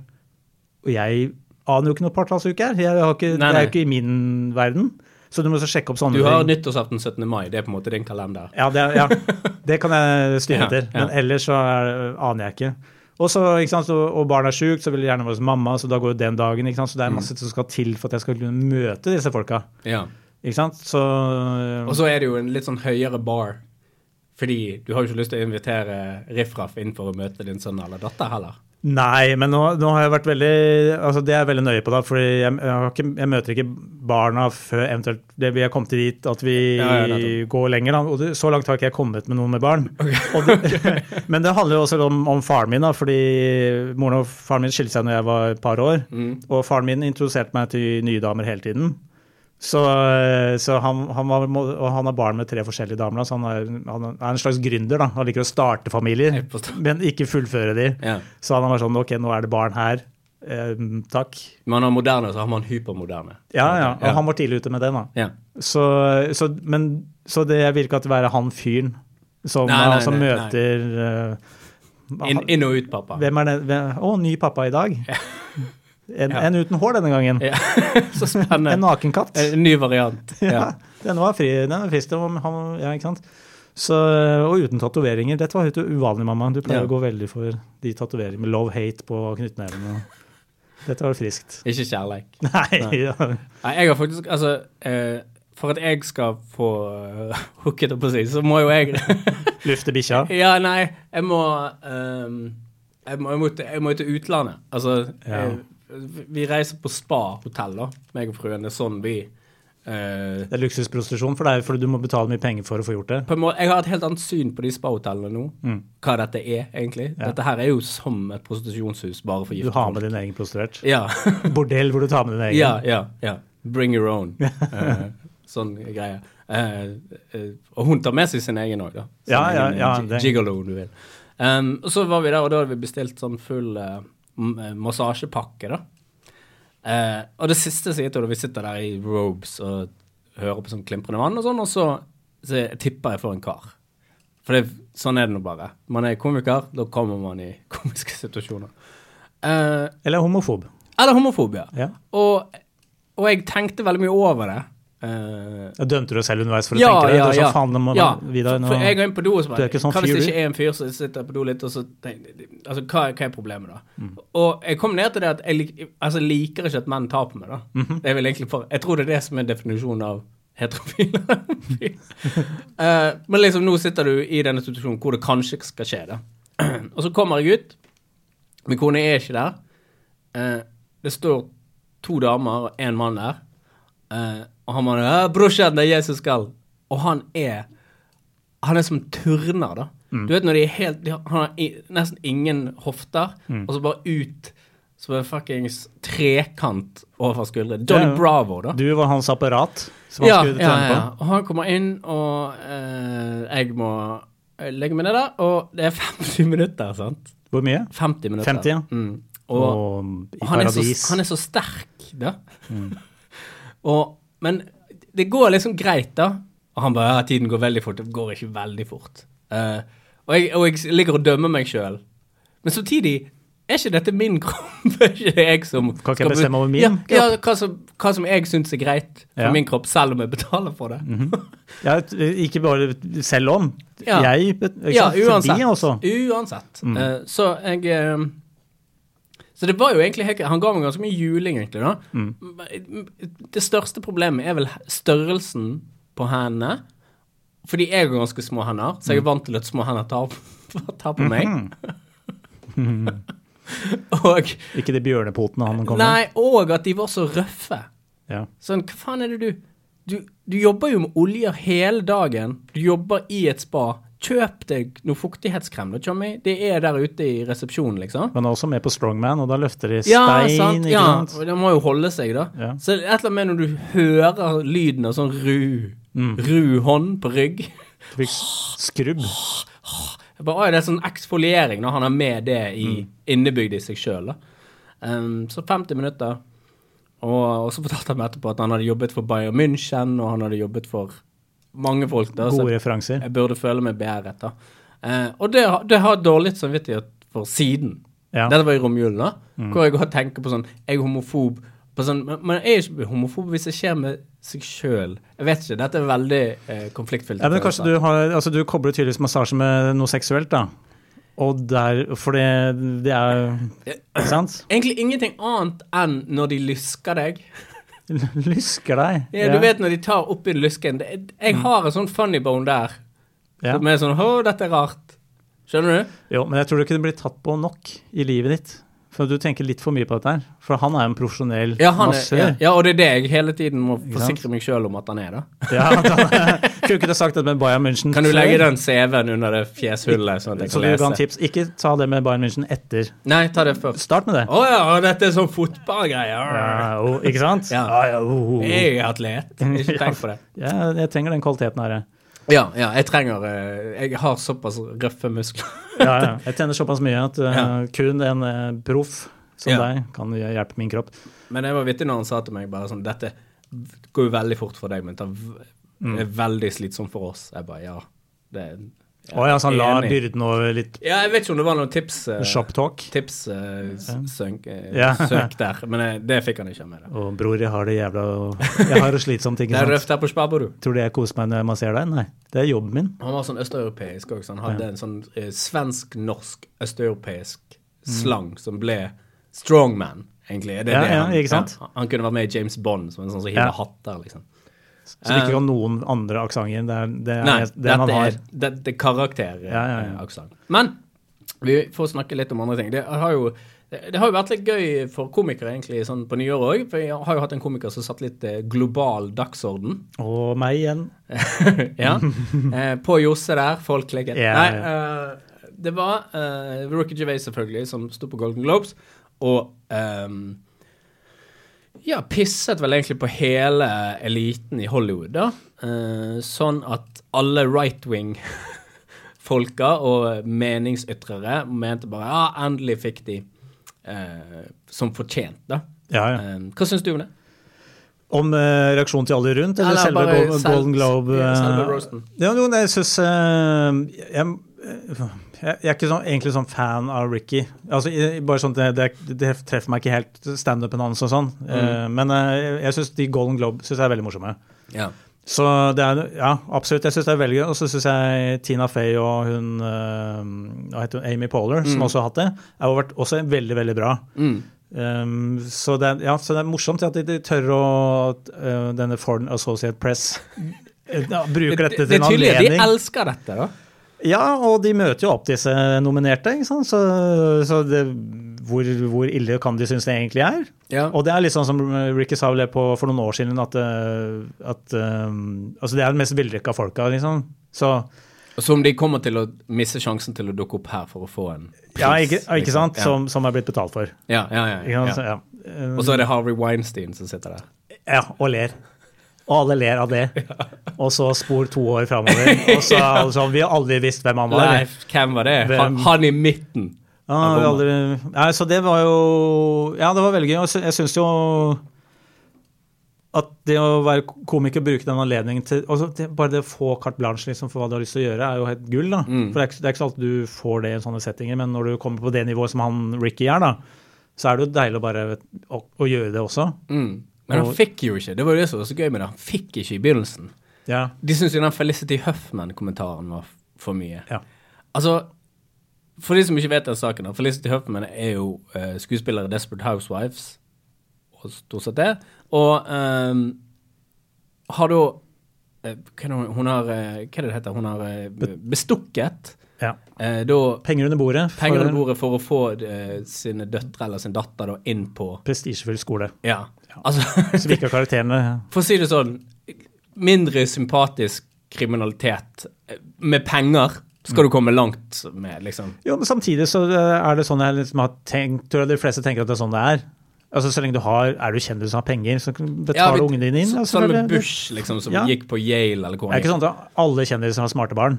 [SPEAKER 2] Og jeg aner jo ikke noe partallsuke er. Jeg har ikke,
[SPEAKER 1] Nei,
[SPEAKER 2] Det er
[SPEAKER 1] nei.
[SPEAKER 2] jo ikke i min verden. Så du må også sjekke opp sånne
[SPEAKER 1] Du har
[SPEAKER 2] ting.
[SPEAKER 1] nyttårsaften 17. mai, det er på en måte din kalender.
[SPEAKER 2] Ja, det, ja, det kan jeg styre
[SPEAKER 1] Ja,
[SPEAKER 2] etter.
[SPEAKER 1] ja.
[SPEAKER 2] Men ellers så er, aner jeg ikke. Og så, ikke sant, så, og barn er sjukt, så vil de gjerne være hos mamma, så da går jo den dagen. ikke sant, Så
[SPEAKER 1] Mm.
[SPEAKER 2] det er masse som skal til for at jeg skal kunne møte disse folka.
[SPEAKER 1] Ja.
[SPEAKER 2] Ikke sant? Så
[SPEAKER 1] Og så er det jo en litt sånn høyere bar. Fordi du har jo ikke lyst til å invitere Riff Raff inn for å møte din sønn eller datter heller.
[SPEAKER 2] Nei, men nå, nå har jeg vært veldig altså Det er jeg veldig nøye på, da, fordi jeg, jeg, har ikke, jeg møter ikke barna før eventuelt det vi har kommet dit at vi
[SPEAKER 1] Ja, ja, nettopp.
[SPEAKER 2] går lenger. Da. Og det, så langt har ikke jeg kommet med noen med barn. Og det, men det handler jo også om, om faren min, da, fordi moren og faren min skilte seg når jeg var et par år.
[SPEAKER 1] Mm.
[SPEAKER 2] Og faren min introduserte meg til nye damer hele tiden. Så, så han, han var, og han har barn med tre forskjellige damer, da, så han er, han er en slags gründer. da. Han liker å starte familier,
[SPEAKER 1] Jeg forstår.
[SPEAKER 2] men ikke fullføre de.
[SPEAKER 1] Ja.
[SPEAKER 2] Så han var sånn Ok, nå er det barn her. Eh, takk.
[SPEAKER 1] Man har moderne, så har man hypermoderne.
[SPEAKER 2] Ja, ja. Og
[SPEAKER 1] Ja.
[SPEAKER 2] han var tidlig ute med det, da.
[SPEAKER 1] Ja.
[SPEAKER 2] Så, så, men, så det vil ikke at være han fyren som,
[SPEAKER 1] Nei, nei,
[SPEAKER 2] som
[SPEAKER 1] nei, nei.
[SPEAKER 2] møter eh,
[SPEAKER 1] Inn, inn og ut, pappa.
[SPEAKER 2] Hvem er det hvem- Å, ny pappa i dag. En, en uten hår denne gangen.
[SPEAKER 1] Ja. så spennende.
[SPEAKER 2] En nakenkatt.
[SPEAKER 1] En ny variant.
[SPEAKER 2] Ja, den var, fri, den var frisk. Den var, han, ja, ikke sant? Så, og uten tatoveringer. Dette var helt uvanlig, mamma. Du pleier
[SPEAKER 1] Ja.
[SPEAKER 2] å gå veldig for de tatoveringene med love-hate på knyttnevene. Dette var friskt.
[SPEAKER 1] Ikke kjærleik.
[SPEAKER 2] Nei,
[SPEAKER 1] Nei.
[SPEAKER 2] Ja.
[SPEAKER 1] Nei, jeg har faktisk Altså, eh, for at jeg skal få uh, hooket opp å si, så må jo jeg
[SPEAKER 2] lufte bikkja.
[SPEAKER 1] Ja, nei, jeg må ehm, jeg må, jeg, må til, jeg må til utlandet. Altså
[SPEAKER 2] Ja.
[SPEAKER 1] eh, vi- Vi reiser på spa-hotell, da, meg og fruen. Det er sånn vi eh,
[SPEAKER 2] Det er luksusprostitusjon for deg, for du må betale mye penger for å få gjort det.
[SPEAKER 1] på en måte, Jeg har et helt annet syn på de spa-hotellene nå.
[SPEAKER 2] Mm.
[SPEAKER 1] Hva dette er, egentlig.
[SPEAKER 2] Ja.
[SPEAKER 1] Dette her er jo som et prostitusjonshus, bare for
[SPEAKER 2] Du
[SPEAKER 1] gifte
[SPEAKER 2] har med din egen prostituert.
[SPEAKER 1] Ja.
[SPEAKER 2] Bordell hvor du tar med din egen.
[SPEAKER 1] Ja, ja, ja. Bring your own. Eh, sånn greie. Eh, eh, og hun tar med seg sin egen òg, da. Sin
[SPEAKER 2] Ja, ja,
[SPEAKER 1] egen
[SPEAKER 2] ja,
[SPEAKER 1] gi-
[SPEAKER 2] det-
[SPEAKER 1] Gigolo, om du vil. Ehm, og så var vi der, og da hadde vi bestilt sånn full eh, m- eh, massasjepakke, da. Eh, og det siste sier til da vi sitter der i robes og hører på sånn klimprende vann og sånn, og så, så tipper jeg for en kar. For det, sånn er det nå bare. Man er komiker, da kommer man i komiske situasjoner. Eh,
[SPEAKER 2] Eller homofob.
[SPEAKER 1] eller homofobia.
[SPEAKER 2] Ja.
[SPEAKER 1] Og, og jeg tenkte veldig mye over det. Eh,
[SPEAKER 2] Da Dømte du deg selv underveis for å tenke det? Du er sånn, faen, nå må
[SPEAKER 1] ja.
[SPEAKER 2] Vidar, nå.
[SPEAKER 1] For jeg går inn på do og så
[SPEAKER 2] Du
[SPEAKER 1] bare
[SPEAKER 2] er ikke sånn
[SPEAKER 1] Hva hvis
[SPEAKER 2] fyr,
[SPEAKER 1] det
[SPEAKER 2] du?»
[SPEAKER 1] ikke er en fyr, så sitter jeg på do litt, og så tenker jeg, Altså, hva, hva er problemet, da?
[SPEAKER 2] Mm.
[SPEAKER 1] Og jeg kom ned til det at jeg lik, altså, liker ikke at menn tar på meg, da.
[SPEAKER 2] Mhm.
[SPEAKER 1] Det er vel egentlig for Jeg tror det er det som er definisjonen av heterofile. Eh, men liksom, nå sitter du i denne situasjonen hvor det kanskje skal skje, da. og så kommer jeg ut. Min kone er ikke der. Eh, det står to damer og én mann der. Eh, og han mannen er 'Brorsan, det er jeg som skal'. Og han er Han er som turner, da.
[SPEAKER 2] Mm.
[SPEAKER 1] Du vet når de er helt de har, Han har i, nesten ingen hofter,
[SPEAKER 2] Mm.
[SPEAKER 1] og så bare ut som en fuckings trekant overfor skuldrene. Johnny
[SPEAKER 2] Ja, ja.
[SPEAKER 1] Bravo, da.
[SPEAKER 2] Du var hans apparat som han skulle tjene på.
[SPEAKER 1] Og han kommer inn, og eh, jeg må eh, legge meg ned der, og det er 50 minutter, sant?
[SPEAKER 2] Hvor mye?
[SPEAKER 1] 50 minutter.
[SPEAKER 2] 50, ja.
[SPEAKER 1] Mm.
[SPEAKER 2] Og,
[SPEAKER 1] Og,
[SPEAKER 2] i
[SPEAKER 1] han, er så,
[SPEAKER 2] paradis. Mm.
[SPEAKER 1] han er så sterk, da. og, men det går liksom greit, da. Og han bare ja, 'Tiden går veldig fort.' Det går ikke veldig fort. Eh, og, jeg, og jeg ligger og dømmer meg sjøl. Men samtidig er ikke dette min kropp? er ikke det jeg som
[SPEAKER 2] Kan ikke jeg
[SPEAKER 1] skal be-
[SPEAKER 2] bestemme over min
[SPEAKER 1] ja,
[SPEAKER 2] kropp?
[SPEAKER 1] Ja, hva som, hva som jeg syns er greit for
[SPEAKER 2] Ja. Mhm.
[SPEAKER 1] min kropp, selv om jeg betaler for det.
[SPEAKER 2] Ja, ikke bare selv om.
[SPEAKER 1] Ja.
[SPEAKER 2] Jeg, ikke
[SPEAKER 1] Ja,
[SPEAKER 2] sant?
[SPEAKER 1] uansett.
[SPEAKER 2] Fordi også. Mm.
[SPEAKER 1] Uansett. Eh, så jeg eh, Så det var jo egentlig helt greit. Han ga meg ganske mye juling, egentlig, da.
[SPEAKER 2] Mm.
[SPEAKER 1] Men Det største problemet er vel størrelsen på hendene. Fordi jeg har ganske små hender, så
[SPEAKER 2] Mm.
[SPEAKER 1] jeg er vant til at små hender tar, tar på meg.
[SPEAKER 2] Mhm.
[SPEAKER 1] og,
[SPEAKER 2] Ikke de bjørnepotene han kom med.
[SPEAKER 1] nei, og at de var så røffe.
[SPEAKER 2] Ja.
[SPEAKER 1] Sånn, hva faen er det du Du, du jobber jo med oljer hele dagen. Du jobber i et spa. Kjøp deg noe fuktighetskrem, da, Tommy. Det er der ute i resepsjonen, liksom.
[SPEAKER 2] Men også med på Strongman, og da løfter de stein,
[SPEAKER 1] Ja, sant.
[SPEAKER 2] ikke
[SPEAKER 1] Ja,
[SPEAKER 2] sant?
[SPEAKER 1] og det må jo holde seg, da.
[SPEAKER 2] Ja.
[SPEAKER 1] Så det er et eller annet med når du hører lyden av sånn ru,
[SPEAKER 2] Mm.
[SPEAKER 1] ru hånd på rygg
[SPEAKER 2] Fikk skrubb.
[SPEAKER 1] Jeg bare, «Oi, Det er sånn eksfoliering når han har med det i,
[SPEAKER 2] Mm.
[SPEAKER 1] innebygd i seg sjøl. Um, så 50 minutter. Og, og så fortalte han meg etterpå at han hadde jobbet for Bayern München, og han hadde jobbet for mange folk. da, så
[SPEAKER 2] Gode referanser.
[SPEAKER 1] jeg burde føle meg beæret. da. Eh, og det, har- det har jeg dårlig samvittighet for siden.
[SPEAKER 2] Ja. Mm.
[SPEAKER 1] Dette var i romjulen, da, hvor jeg går og tenker på sånn Jeg er homofob. På sånn, men, men jeg er ikke homofob hvis det skjer med seg sjøl. Jeg vet ikke. Dette er veldig eh, konfliktfylt.
[SPEAKER 2] Ja, men kanskje du har Altså, du kobler tydeligvis massasje med noe seksuelt, da. Og der For det, det er Ikke sant?
[SPEAKER 1] Egentlig ingenting annet enn når de lysker deg.
[SPEAKER 2] Lysker deg.
[SPEAKER 1] Ja, Du vet når de tar oppi lysken. Det, jeg har en sånn funny bone der
[SPEAKER 2] Mm. Ja.
[SPEAKER 1] som er sånn Å, dette er rart. Skjønner du?
[SPEAKER 2] Jo, men jeg tror du kunne blitt tatt på nok i livet ditt. For du tenker litt for mye på dette her. For han er jo en profesjonell
[SPEAKER 1] Ja, han er, ja,
[SPEAKER 2] massør.
[SPEAKER 1] ja, og det er det jeg hele tiden må
[SPEAKER 2] Ikke sant?
[SPEAKER 1] forsikre meg sjøl om at han er, da.
[SPEAKER 2] Ja, da- Kunne ikke du sagt det med Bayern München
[SPEAKER 1] Kan du legge
[SPEAKER 2] før?
[SPEAKER 1] den CV-en under det fjeshullet, sånn at jeg
[SPEAKER 2] Så
[SPEAKER 1] kan
[SPEAKER 2] du ga en
[SPEAKER 1] lese?
[SPEAKER 2] tips. Ikke ta det med Bayern München etter.
[SPEAKER 1] Nei, ta det først.
[SPEAKER 2] Start med det.
[SPEAKER 1] Å ja, og dette er sånn fotballgreier.
[SPEAKER 2] Ja, oh, ikke sant?
[SPEAKER 1] Ja.
[SPEAKER 2] ja, oh, oh.
[SPEAKER 1] Jeg er atlet. Ikke tenk på det.
[SPEAKER 2] Ja, jeg trenger den kvaliteten her. jeg.
[SPEAKER 1] Ja, ja, jeg trenger eh, Jeg har såpass røffe muskler.
[SPEAKER 2] Ja, ja. Jeg tjener såpass mye at eh,
[SPEAKER 1] Ja.
[SPEAKER 2] kun en eh, proff som
[SPEAKER 1] Ja.
[SPEAKER 2] deg kan hjelpe min kropp.
[SPEAKER 1] Men det var vittig når han sa til meg bare sånn Dette går jo veldig fort for deg, men det er veldig slitsomt for oss. Jeg bare ja. Det er jeg
[SPEAKER 2] Å ja, så han la
[SPEAKER 1] enig.
[SPEAKER 2] byrden over litt
[SPEAKER 1] Ja, jeg vet ikke om det var noen tips eh,
[SPEAKER 2] shop talk.
[SPEAKER 1] Tips eh, s- sønk, eh,
[SPEAKER 2] Ja.
[SPEAKER 1] søk der, men eh, det fikk han ikke med. Da.
[SPEAKER 2] Og bror, jeg har det jævla Jeg har det slitsomt, ikke
[SPEAKER 1] Det er
[SPEAKER 2] sant?
[SPEAKER 1] røft her på Sparbo, du.
[SPEAKER 2] Tror du jeg koser meg når jeg masserer deg? Nei, det er jobben min.
[SPEAKER 1] Han var sånn østeuropeisk også. Han hadde en sånn eh, svensk-norsk østeuropeisk slang som ble strongman, egentlig. Er det
[SPEAKER 2] Mm. Ja,
[SPEAKER 1] det
[SPEAKER 2] ja,
[SPEAKER 1] han,
[SPEAKER 2] ikke sant?
[SPEAKER 1] Ja, han kunne vært med i James Bond, som en sånn som hiver
[SPEAKER 2] Ja.
[SPEAKER 1] hatter, liksom.
[SPEAKER 2] Så det ikke kan noen andre aksenter. Det er det,
[SPEAKER 1] Eh. Nei,
[SPEAKER 2] er, det man
[SPEAKER 1] dette
[SPEAKER 2] har.
[SPEAKER 1] er, dette er karakter eh,
[SPEAKER 2] Ja, ja, ja.
[SPEAKER 1] aksent. Men vi får snakke litt om andre ting. Det har jo, det, det har jo vært litt gøy for komikere egentlig sånn på nyåret òg. For jeg har jo hatt en komiker som satt litt eh, global dagsorden.
[SPEAKER 2] Og meg igjen.
[SPEAKER 1] ja. Eh, på Josse der, folk klikket.
[SPEAKER 2] Ja,
[SPEAKER 1] Nei, eh, det var eh, Rookie Gervais selvfølgelig, som sto på Golden Globes, og ehm, ja, pisset vel egentlig på hele eliten i Hollywood, da. Eh, sånn at alle right-wing-folka og meningsytrere mente bare ja, endelig fikk de eh, som fortjent, da.
[SPEAKER 2] Ja, ja.
[SPEAKER 1] Eh, hva syns du om det?
[SPEAKER 2] Om eh, reaksjon til alle rundt, eller,
[SPEAKER 1] Eller
[SPEAKER 2] selve
[SPEAKER 1] bare
[SPEAKER 2] Gol-
[SPEAKER 1] selv-
[SPEAKER 2] Golden Globe?
[SPEAKER 1] ja, selve
[SPEAKER 2] eh,
[SPEAKER 1] roasten.
[SPEAKER 2] Ja, jo, nei, jeg syns eh, jeg, jeg, jeg er ikke sånn, egentlig sånn fan av Ricky. Altså, jeg, bare sånn, det, det, det treffer meg ikke helt, standupen hans og sånn.
[SPEAKER 1] Mm.
[SPEAKER 2] Eh, men eh, jeg, jeg syns de Golden Globe synes jeg er veldig morsomme.
[SPEAKER 1] Ja.
[SPEAKER 2] Så det er, ja, absolutt. Jeg syns det er veldig gøy. Og så syns jeg Tina Fey og hun eh, hva heter hun, Amy Poller,
[SPEAKER 1] Mm.
[SPEAKER 2] som også har hatt det, har vært også veldig, veldig bra. Um, så, det er, ja, så det er morsomt at de, de tør å at, eh, Denne Foreign Associate Press eh, ja, bruker
[SPEAKER 1] Det, det
[SPEAKER 2] dette
[SPEAKER 1] er
[SPEAKER 2] til en
[SPEAKER 1] tydelig at de
[SPEAKER 2] anledning.
[SPEAKER 1] elsker dette, da.
[SPEAKER 2] Ja, og de møter jo opp disse nominerte, ikke sant? så, så det, hvor, hvor ille kan de synes det egentlig er?
[SPEAKER 1] Ja.
[SPEAKER 2] Og det er litt sånn som Ricky sa vel på for noen år siden, at, eh, at eh, Altså, det er den mest vellykka folka, liksom. Så
[SPEAKER 1] Som de kommer til å miste sjansen til å dukke opp her for å få en pris.
[SPEAKER 2] Ja, ikke, ikke sant?
[SPEAKER 1] liksom.
[SPEAKER 2] Som, som er blitt betalt for.
[SPEAKER 1] Ja, ja, ja,
[SPEAKER 2] Ikke
[SPEAKER 1] ja,
[SPEAKER 2] sant?
[SPEAKER 1] ja.
[SPEAKER 2] Så, ja. Eh,
[SPEAKER 1] Og så er det Harvey Weinstein som sitter der.
[SPEAKER 2] ja, og ler. Og alle ler av det. Og så spor to år framover. Og så er alle sånn Vi har aldri visst hvem han var.
[SPEAKER 1] Leif, hvem var det? Han,
[SPEAKER 2] Hvem?
[SPEAKER 1] han i midten.
[SPEAKER 2] Ja, vi har aldri, ja, så det var jo Ja, det var veldig gøy. Og så- jeg syns jo at det å være komiker og bruke den anledningen til altså det, Bare det å få carte blanche liksom, for hva du har lyst til å gjøre, er jo helt gull. da.
[SPEAKER 1] Mm.
[SPEAKER 2] For det er, ikke, det er ikke så alltid du får det i sånne settinger, men når du kommer på det nivået som han Ricky er, da, så er det jo deilig å bare å, å gjøre det også.
[SPEAKER 1] Mm. Men han
[SPEAKER 2] Og-
[SPEAKER 1] fikk jo ikke. Det var jo det som var så gøy med det. Han fikk ikke i begynnelsen.
[SPEAKER 2] Ja.
[SPEAKER 1] De syntes jo den Felicity Huffman-kommentaren var f- for mye.
[SPEAKER 2] ja.
[SPEAKER 1] Altså, for de som ikke vet den saken, da, Felicity Huffman er jo eh, skuespiller i Desperate Housewives, og stort sett det, og ehm, har da eh, hva er det hun- hun har, eh, hva er det det heter, hun har eh, bestukket
[SPEAKER 2] ja.
[SPEAKER 1] eh, da
[SPEAKER 2] Penger under bordet. for
[SPEAKER 1] penger under bordet for å få eh, sine døtre eller sin datter da inn på
[SPEAKER 2] Prestisjefull skole.
[SPEAKER 1] Ja. Altså,
[SPEAKER 2] Svika karakterene.
[SPEAKER 1] for å si det sånn, mindre sympatisk kriminalitet eh, med penger skal du komme langt med, liksom.
[SPEAKER 2] Jo, men samtidig så eh, er det sånn jeg liksom har tenkt, tror jeg de fleste tenker at det er sånn det er. Altså Så lenge du har, er du kjendis og har penger, så kan du
[SPEAKER 1] Ja,
[SPEAKER 2] betale
[SPEAKER 1] vi-
[SPEAKER 2] ungene dine inn.
[SPEAKER 1] så-
[SPEAKER 2] altså,
[SPEAKER 1] Sånn med
[SPEAKER 2] det- det-
[SPEAKER 1] Bush, liksom, som
[SPEAKER 2] Ja.
[SPEAKER 1] gikk på Yale eller hvor
[SPEAKER 2] Det er
[SPEAKER 1] han
[SPEAKER 2] ikke
[SPEAKER 1] gikk.
[SPEAKER 2] sånn at alle kjendiser har smarte barn.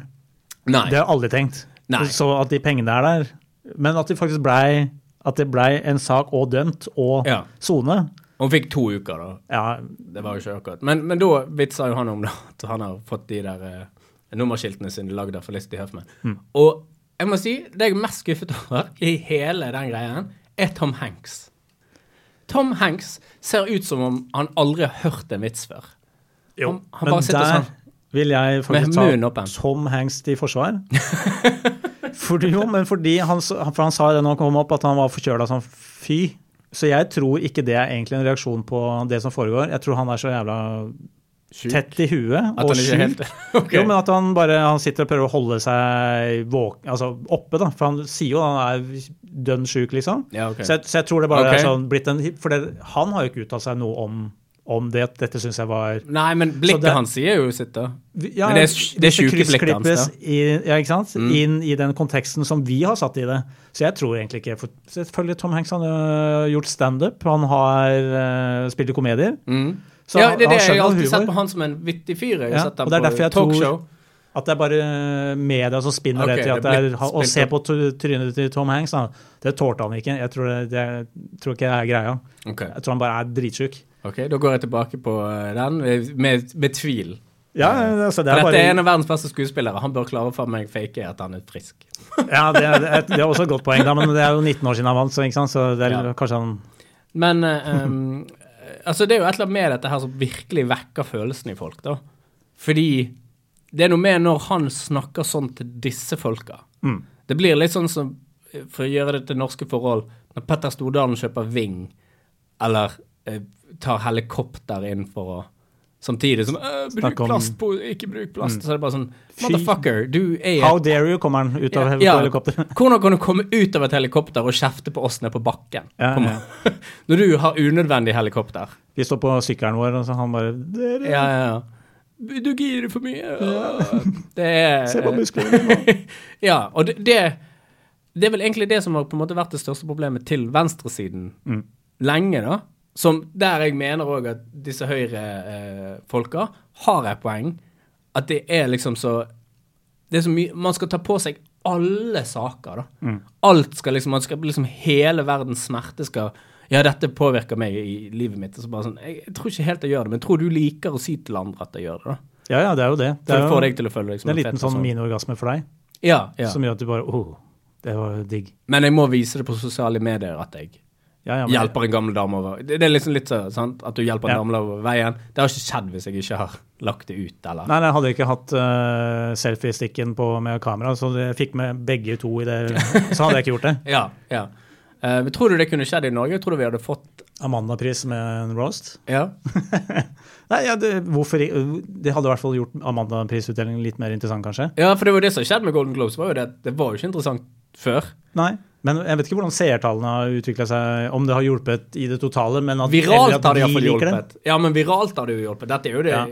[SPEAKER 1] Nei.
[SPEAKER 2] Det har jeg aldri tenkt.
[SPEAKER 1] Nei.
[SPEAKER 2] Så at de pengene er der. Men at de faktisk blei at det blei en sak og dømt og
[SPEAKER 1] Ja.
[SPEAKER 2] sone.
[SPEAKER 1] Hun fikk to uker, da.
[SPEAKER 2] Ja.
[SPEAKER 1] Det var jo ikke akkurat. Men, men da vitsa jo han om det, at han har fått de der eh, nummerskiltene sine lagd av Felicity Huffman.
[SPEAKER 2] Mm.
[SPEAKER 1] Og jeg må si, det jeg er mest skuffet over i hele den greien, er Tom Hanks. Tom Hanks ser ut som om han aldri har hørt en vits før.
[SPEAKER 2] Jo,
[SPEAKER 1] Han- han bare
[SPEAKER 2] men
[SPEAKER 1] sitter
[SPEAKER 2] der
[SPEAKER 1] sånn.
[SPEAKER 2] vil jeg
[SPEAKER 1] Med
[SPEAKER 2] faktisk
[SPEAKER 1] munnen
[SPEAKER 2] ta
[SPEAKER 1] åpen.
[SPEAKER 2] Tom Hanks til forsvar. fordi, jo, men fordi han, s- for han sa jo det når han kom opp, at han var forkjøla som fy. Så jeg tror ikke det er egentlig en reaksjon på det som foregår. Jeg tror han er så jævla
[SPEAKER 1] Sjuk?
[SPEAKER 2] tett i huet
[SPEAKER 1] sånn. At
[SPEAKER 2] og
[SPEAKER 1] han ikke er
[SPEAKER 2] sjuk.
[SPEAKER 1] helt Ok.
[SPEAKER 2] Jo, men at han bare han sitter og prøver å holde seg våk, altså oppe, da. For han sier jo han er dønn sjuk, liksom.
[SPEAKER 1] ja, ok.
[SPEAKER 2] Så, jeg, så jeg tror det bare
[SPEAKER 1] Ok.
[SPEAKER 2] er sånn blitt en For det, han har jo ikke uttalt seg noe om, om det. at Dette syns jeg var
[SPEAKER 1] Nei, men
[SPEAKER 2] Så
[SPEAKER 1] blikket
[SPEAKER 2] det-
[SPEAKER 1] hans sier jo sitt, da.
[SPEAKER 2] ja,
[SPEAKER 1] Men det er- det er
[SPEAKER 2] hvis
[SPEAKER 1] sjuke blikket hans,
[SPEAKER 2] kryssklippes i- Ja, ikke sant?
[SPEAKER 1] Mm.
[SPEAKER 2] Inn i den konteksten som vi har satt i det. Så jeg tror egentlig ikke for Selvfølgelig Tom Hanks han har gjort standup. Han har eh, spilt i komedier.
[SPEAKER 1] Mm.
[SPEAKER 2] Så
[SPEAKER 1] ja,
[SPEAKER 2] han-
[SPEAKER 1] det er det. Jeg
[SPEAKER 2] han
[SPEAKER 1] har
[SPEAKER 2] skjønner
[SPEAKER 1] alltid sett
[SPEAKER 2] humor.
[SPEAKER 1] på han som en vittig fyr. Jeg har
[SPEAKER 2] Ja,
[SPEAKER 1] sett ham
[SPEAKER 2] og det er derfor
[SPEAKER 1] på
[SPEAKER 2] jeg tror-
[SPEAKER 1] talkshow.
[SPEAKER 2] At det er bare eh, media som spinner
[SPEAKER 1] Ok,
[SPEAKER 2] det til at
[SPEAKER 1] det
[SPEAKER 2] det
[SPEAKER 1] blir
[SPEAKER 2] er, Å
[SPEAKER 1] spilt
[SPEAKER 2] se
[SPEAKER 1] opp.
[SPEAKER 2] på t- trynet til Tom Hanks, da, det tålte han ikke. Jeg tror, det, det tror ikke det er greia.
[SPEAKER 1] Ok,
[SPEAKER 2] Jeg tror han bare er dritsjuk.
[SPEAKER 1] ok, Da går jeg tilbake på eh, den med, med, med tvil.
[SPEAKER 2] Ja, altså,
[SPEAKER 1] For
[SPEAKER 2] det er
[SPEAKER 1] dette
[SPEAKER 2] bare
[SPEAKER 1] er en av verdens beste skuespillere. Han bør klare for meg fake at han er frisk.
[SPEAKER 2] ja, det, er, det er- det er også et godt poeng, da, men det er jo 19 år siden han vant, så, ikke sant? så det er
[SPEAKER 1] Ja.
[SPEAKER 2] kanskje han
[SPEAKER 1] Men eh, um, altså det er jo et eller annet med dette her som virkelig vekker følelsene i folk, da. Fordi det er noe med når han snakker sånn til disse folka.
[SPEAKER 2] Mm.
[SPEAKER 1] Det blir litt sånn som, for å gjøre det til norske forhold, når Petter Stordalen kjøper Ving, eller eh, tar helikopter inn for å Samtidig som eh, Bruk
[SPEAKER 2] Snakk om- Mm.
[SPEAKER 1] plast på Ikke bruk plast. Så er det bare sånn
[SPEAKER 2] Fy-
[SPEAKER 1] Motherfucker, du er
[SPEAKER 2] How dare you, kommer han ut av
[SPEAKER 1] Ja,
[SPEAKER 2] hel-
[SPEAKER 1] ja.
[SPEAKER 2] helikopteret.
[SPEAKER 1] Hvordan kan du komme ut av et helikopter og kjefte på oss nede på bakken?
[SPEAKER 2] Ja,
[SPEAKER 1] På- Når du har unødvendig helikopter.
[SPEAKER 2] Vi står på sykkelen vår, og så han bare dere,
[SPEAKER 1] Ja, ja, ja. Du girer for mye. Det er
[SPEAKER 2] Se på musklene mine.
[SPEAKER 1] Ja, og det, det Det er vel egentlig det som har på en måte vært det største problemet til venstresiden
[SPEAKER 2] Mm.
[SPEAKER 1] lenge, da. Som der jeg mener òg at disse høyrefolka eh, har et poeng. At det er liksom så Det er så mye Man skal ta på seg alle saker, da.
[SPEAKER 2] Mm.
[SPEAKER 1] Alt skal liksom Man skal liksom Hele verdens smerte skal Ja, dette påvirker meg i livet mitt. Og så bare sånn Jeg, jeg tror ikke helt jeg gjør det, men jeg tror du liker å si til andre at jeg gjør det, da.
[SPEAKER 2] Ja, ja, det er jo det. Det
[SPEAKER 1] For
[SPEAKER 2] er,
[SPEAKER 1] det
[SPEAKER 2] jo,
[SPEAKER 1] får
[SPEAKER 2] det
[SPEAKER 1] deg til å føle deg som
[SPEAKER 2] er en liten
[SPEAKER 1] fet person.
[SPEAKER 2] sånn miniorgasme for deg,
[SPEAKER 1] Ja, ja.
[SPEAKER 2] som gjør at du bare Å, det var digg.
[SPEAKER 1] Men jeg må vise det på sosiale medier at jeg
[SPEAKER 2] Ja, ja, men-
[SPEAKER 1] hjelper en gammel dame over Det det er liksom litt sånn sant? at du hjelper en
[SPEAKER 2] Ja.
[SPEAKER 1] gammel dame over veien. Det har ikke skjedd hvis jeg ikke har lagt det ut, eller
[SPEAKER 2] Nei, nei, jeg hadde ikke hatt eh, selfiesticken på med kamera, så jeg fikk med begge to i det. Så hadde jeg ikke gjort det.
[SPEAKER 1] Ja. ja. Eh, men tror du det kunne skjedd i Norge? Tror du vi hadde fått
[SPEAKER 2] Amanda-pris med en roast.
[SPEAKER 1] Ja.
[SPEAKER 2] Nei, ja, det, hvorfor i- Det hadde i hvert fall gjort Amanda-prisutdelingen litt mer interessant, kanskje.
[SPEAKER 1] ja, for det var jo det som skjedde med Golden Globes. Var jo det, at det var jo ikke interessant før.
[SPEAKER 2] Nei. Men jeg vet ikke hvordan seertallene har utvikla seg, om det har hjulpet i det totale, men at eller at
[SPEAKER 1] Viralt har det
[SPEAKER 2] vi
[SPEAKER 1] iallfall
[SPEAKER 2] liker det.
[SPEAKER 1] hjulpet. Ja, men viralt har det jo hjulpet. Dette er jo det
[SPEAKER 2] Ja.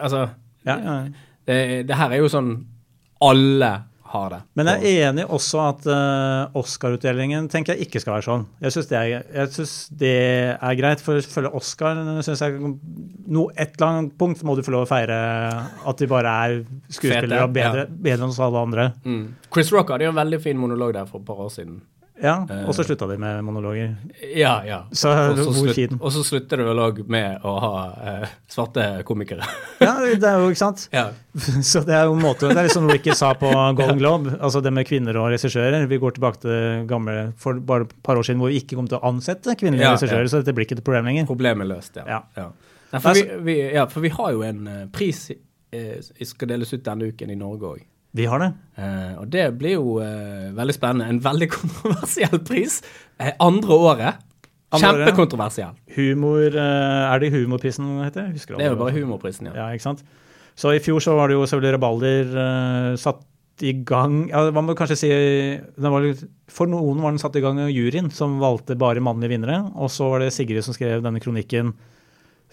[SPEAKER 1] Altså,
[SPEAKER 2] Ja, ja.
[SPEAKER 1] det, det her er jo sånn Alle har det.
[SPEAKER 2] Men jeg er enig også at eh, Oscar-utdelingen tenker jeg ikke skal være sånn. Jeg syns det, er- jeg synes det er greit, for selvfølgelig Oscar synes jeg, no, Et eller annet punkt må du få lov å feire at de bare er skuespillere og
[SPEAKER 1] Fete, ja.
[SPEAKER 2] bedre, bedre enn oss alle andre.
[SPEAKER 1] mm. Chris Rock hadde jo en veldig fin monolog der for et par år siden.
[SPEAKER 2] Ja,
[SPEAKER 1] Eh.
[SPEAKER 2] Og så slutta de med monologer.
[SPEAKER 1] Ja, ja.
[SPEAKER 2] Så
[SPEAKER 1] Og så
[SPEAKER 2] hvor
[SPEAKER 1] slutt-
[SPEAKER 2] kiden?
[SPEAKER 1] Og så slutter det vel òg med å ha eh, svarte komikere.
[SPEAKER 2] Ja, det er jo, ikke sant?
[SPEAKER 1] ja.
[SPEAKER 2] Så det er jo en måte, det er liksom litt som Ricky sa på Golden Globe, altså det med kvinner og regissører. Vi går tilbake til det gamle for bare et par år siden hvor vi ikke kom til å ansette kvinnelige
[SPEAKER 1] Ja, ja.
[SPEAKER 2] regissører, så dette blir ikke et problem lenger.
[SPEAKER 1] Problemet løst, ja.
[SPEAKER 2] Ja. Altså-
[SPEAKER 1] Nei, for, vi, vi, ja for vi har jo en eh, pris eh, som skal deles ut denne uken i Norge òg.
[SPEAKER 2] Vi har det.
[SPEAKER 1] og det blir jo eh, veldig spennende. En veldig kontroversiell pris. Eh, andre året.
[SPEAKER 2] Andre året, ja.
[SPEAKER 1] Kjempekontroversiell.
[SPEAKER 2] Humor eh, Er det humorprisen den heter? Jeg Husker
[SPEAKER 1] Det er jo bare humorprisen, ja.
[SPEAKER 2] Ja, ikke sant? Så i fjor så var det jo selvfølgelig Rabalder eh, satt i gang ja, Man må kanskje si den var, litt- For noen var den satt i gang av juryen, som valgte bare mannlige vinnere. Og så var det Sigrid som skrev denne kronikken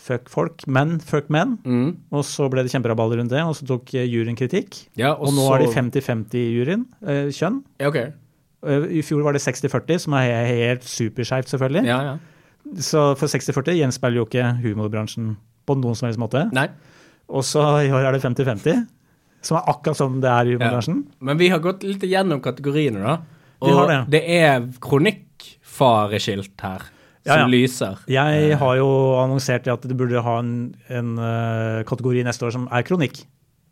[SPEAKER 2] 'Fuck folk, men fuck men'.
[SPEAKER 1] Mm.
[SPEAKER 2] Og så ble det kjemperabalder rundt det, og så tok eh, juryen kritikk.
[SPEAKER 1] ja
[SPEAKER 2] Og nå er de
[SPEAKER 1] så-
[SPEAKER 2] 50-50 i juryen, eh, kjønn.
[SPEAKER 1] Ja, ok.
[SPEAKER 2] Eh, I fjor var det 60-40, som er he- helt superskeivt, selvfølgelig.
[SPEAKER 1] Ja, ja.
[SPEAKER 2] Så for 60-40 gjenspeiler jo ikke humorbransjen på noen som helst måte.
[SPEAKER 1] Nei.
[SPEAKER 2] Og så i år er det 50-50, som er akkurat som det er i humorbransjen.
[SPEAKER 1] Men vi har gått litt gjennom kategoriene, da.
[SPEAKER 2] Vi
[SPEAKER 1] Og
[SPEAKER 2] har
[SPEAKER 1] det.
[SPEAKER 2] det.
[SPEAKER 1] er kronikkfareskilt her, som
[SPEAKER 2] Ja, ja.
[SPEAKER 1] lyser.
[SPEAKER 2] Jeg har jo annonsert at du burde ha en, en eh, kategori neste år som er kronikk.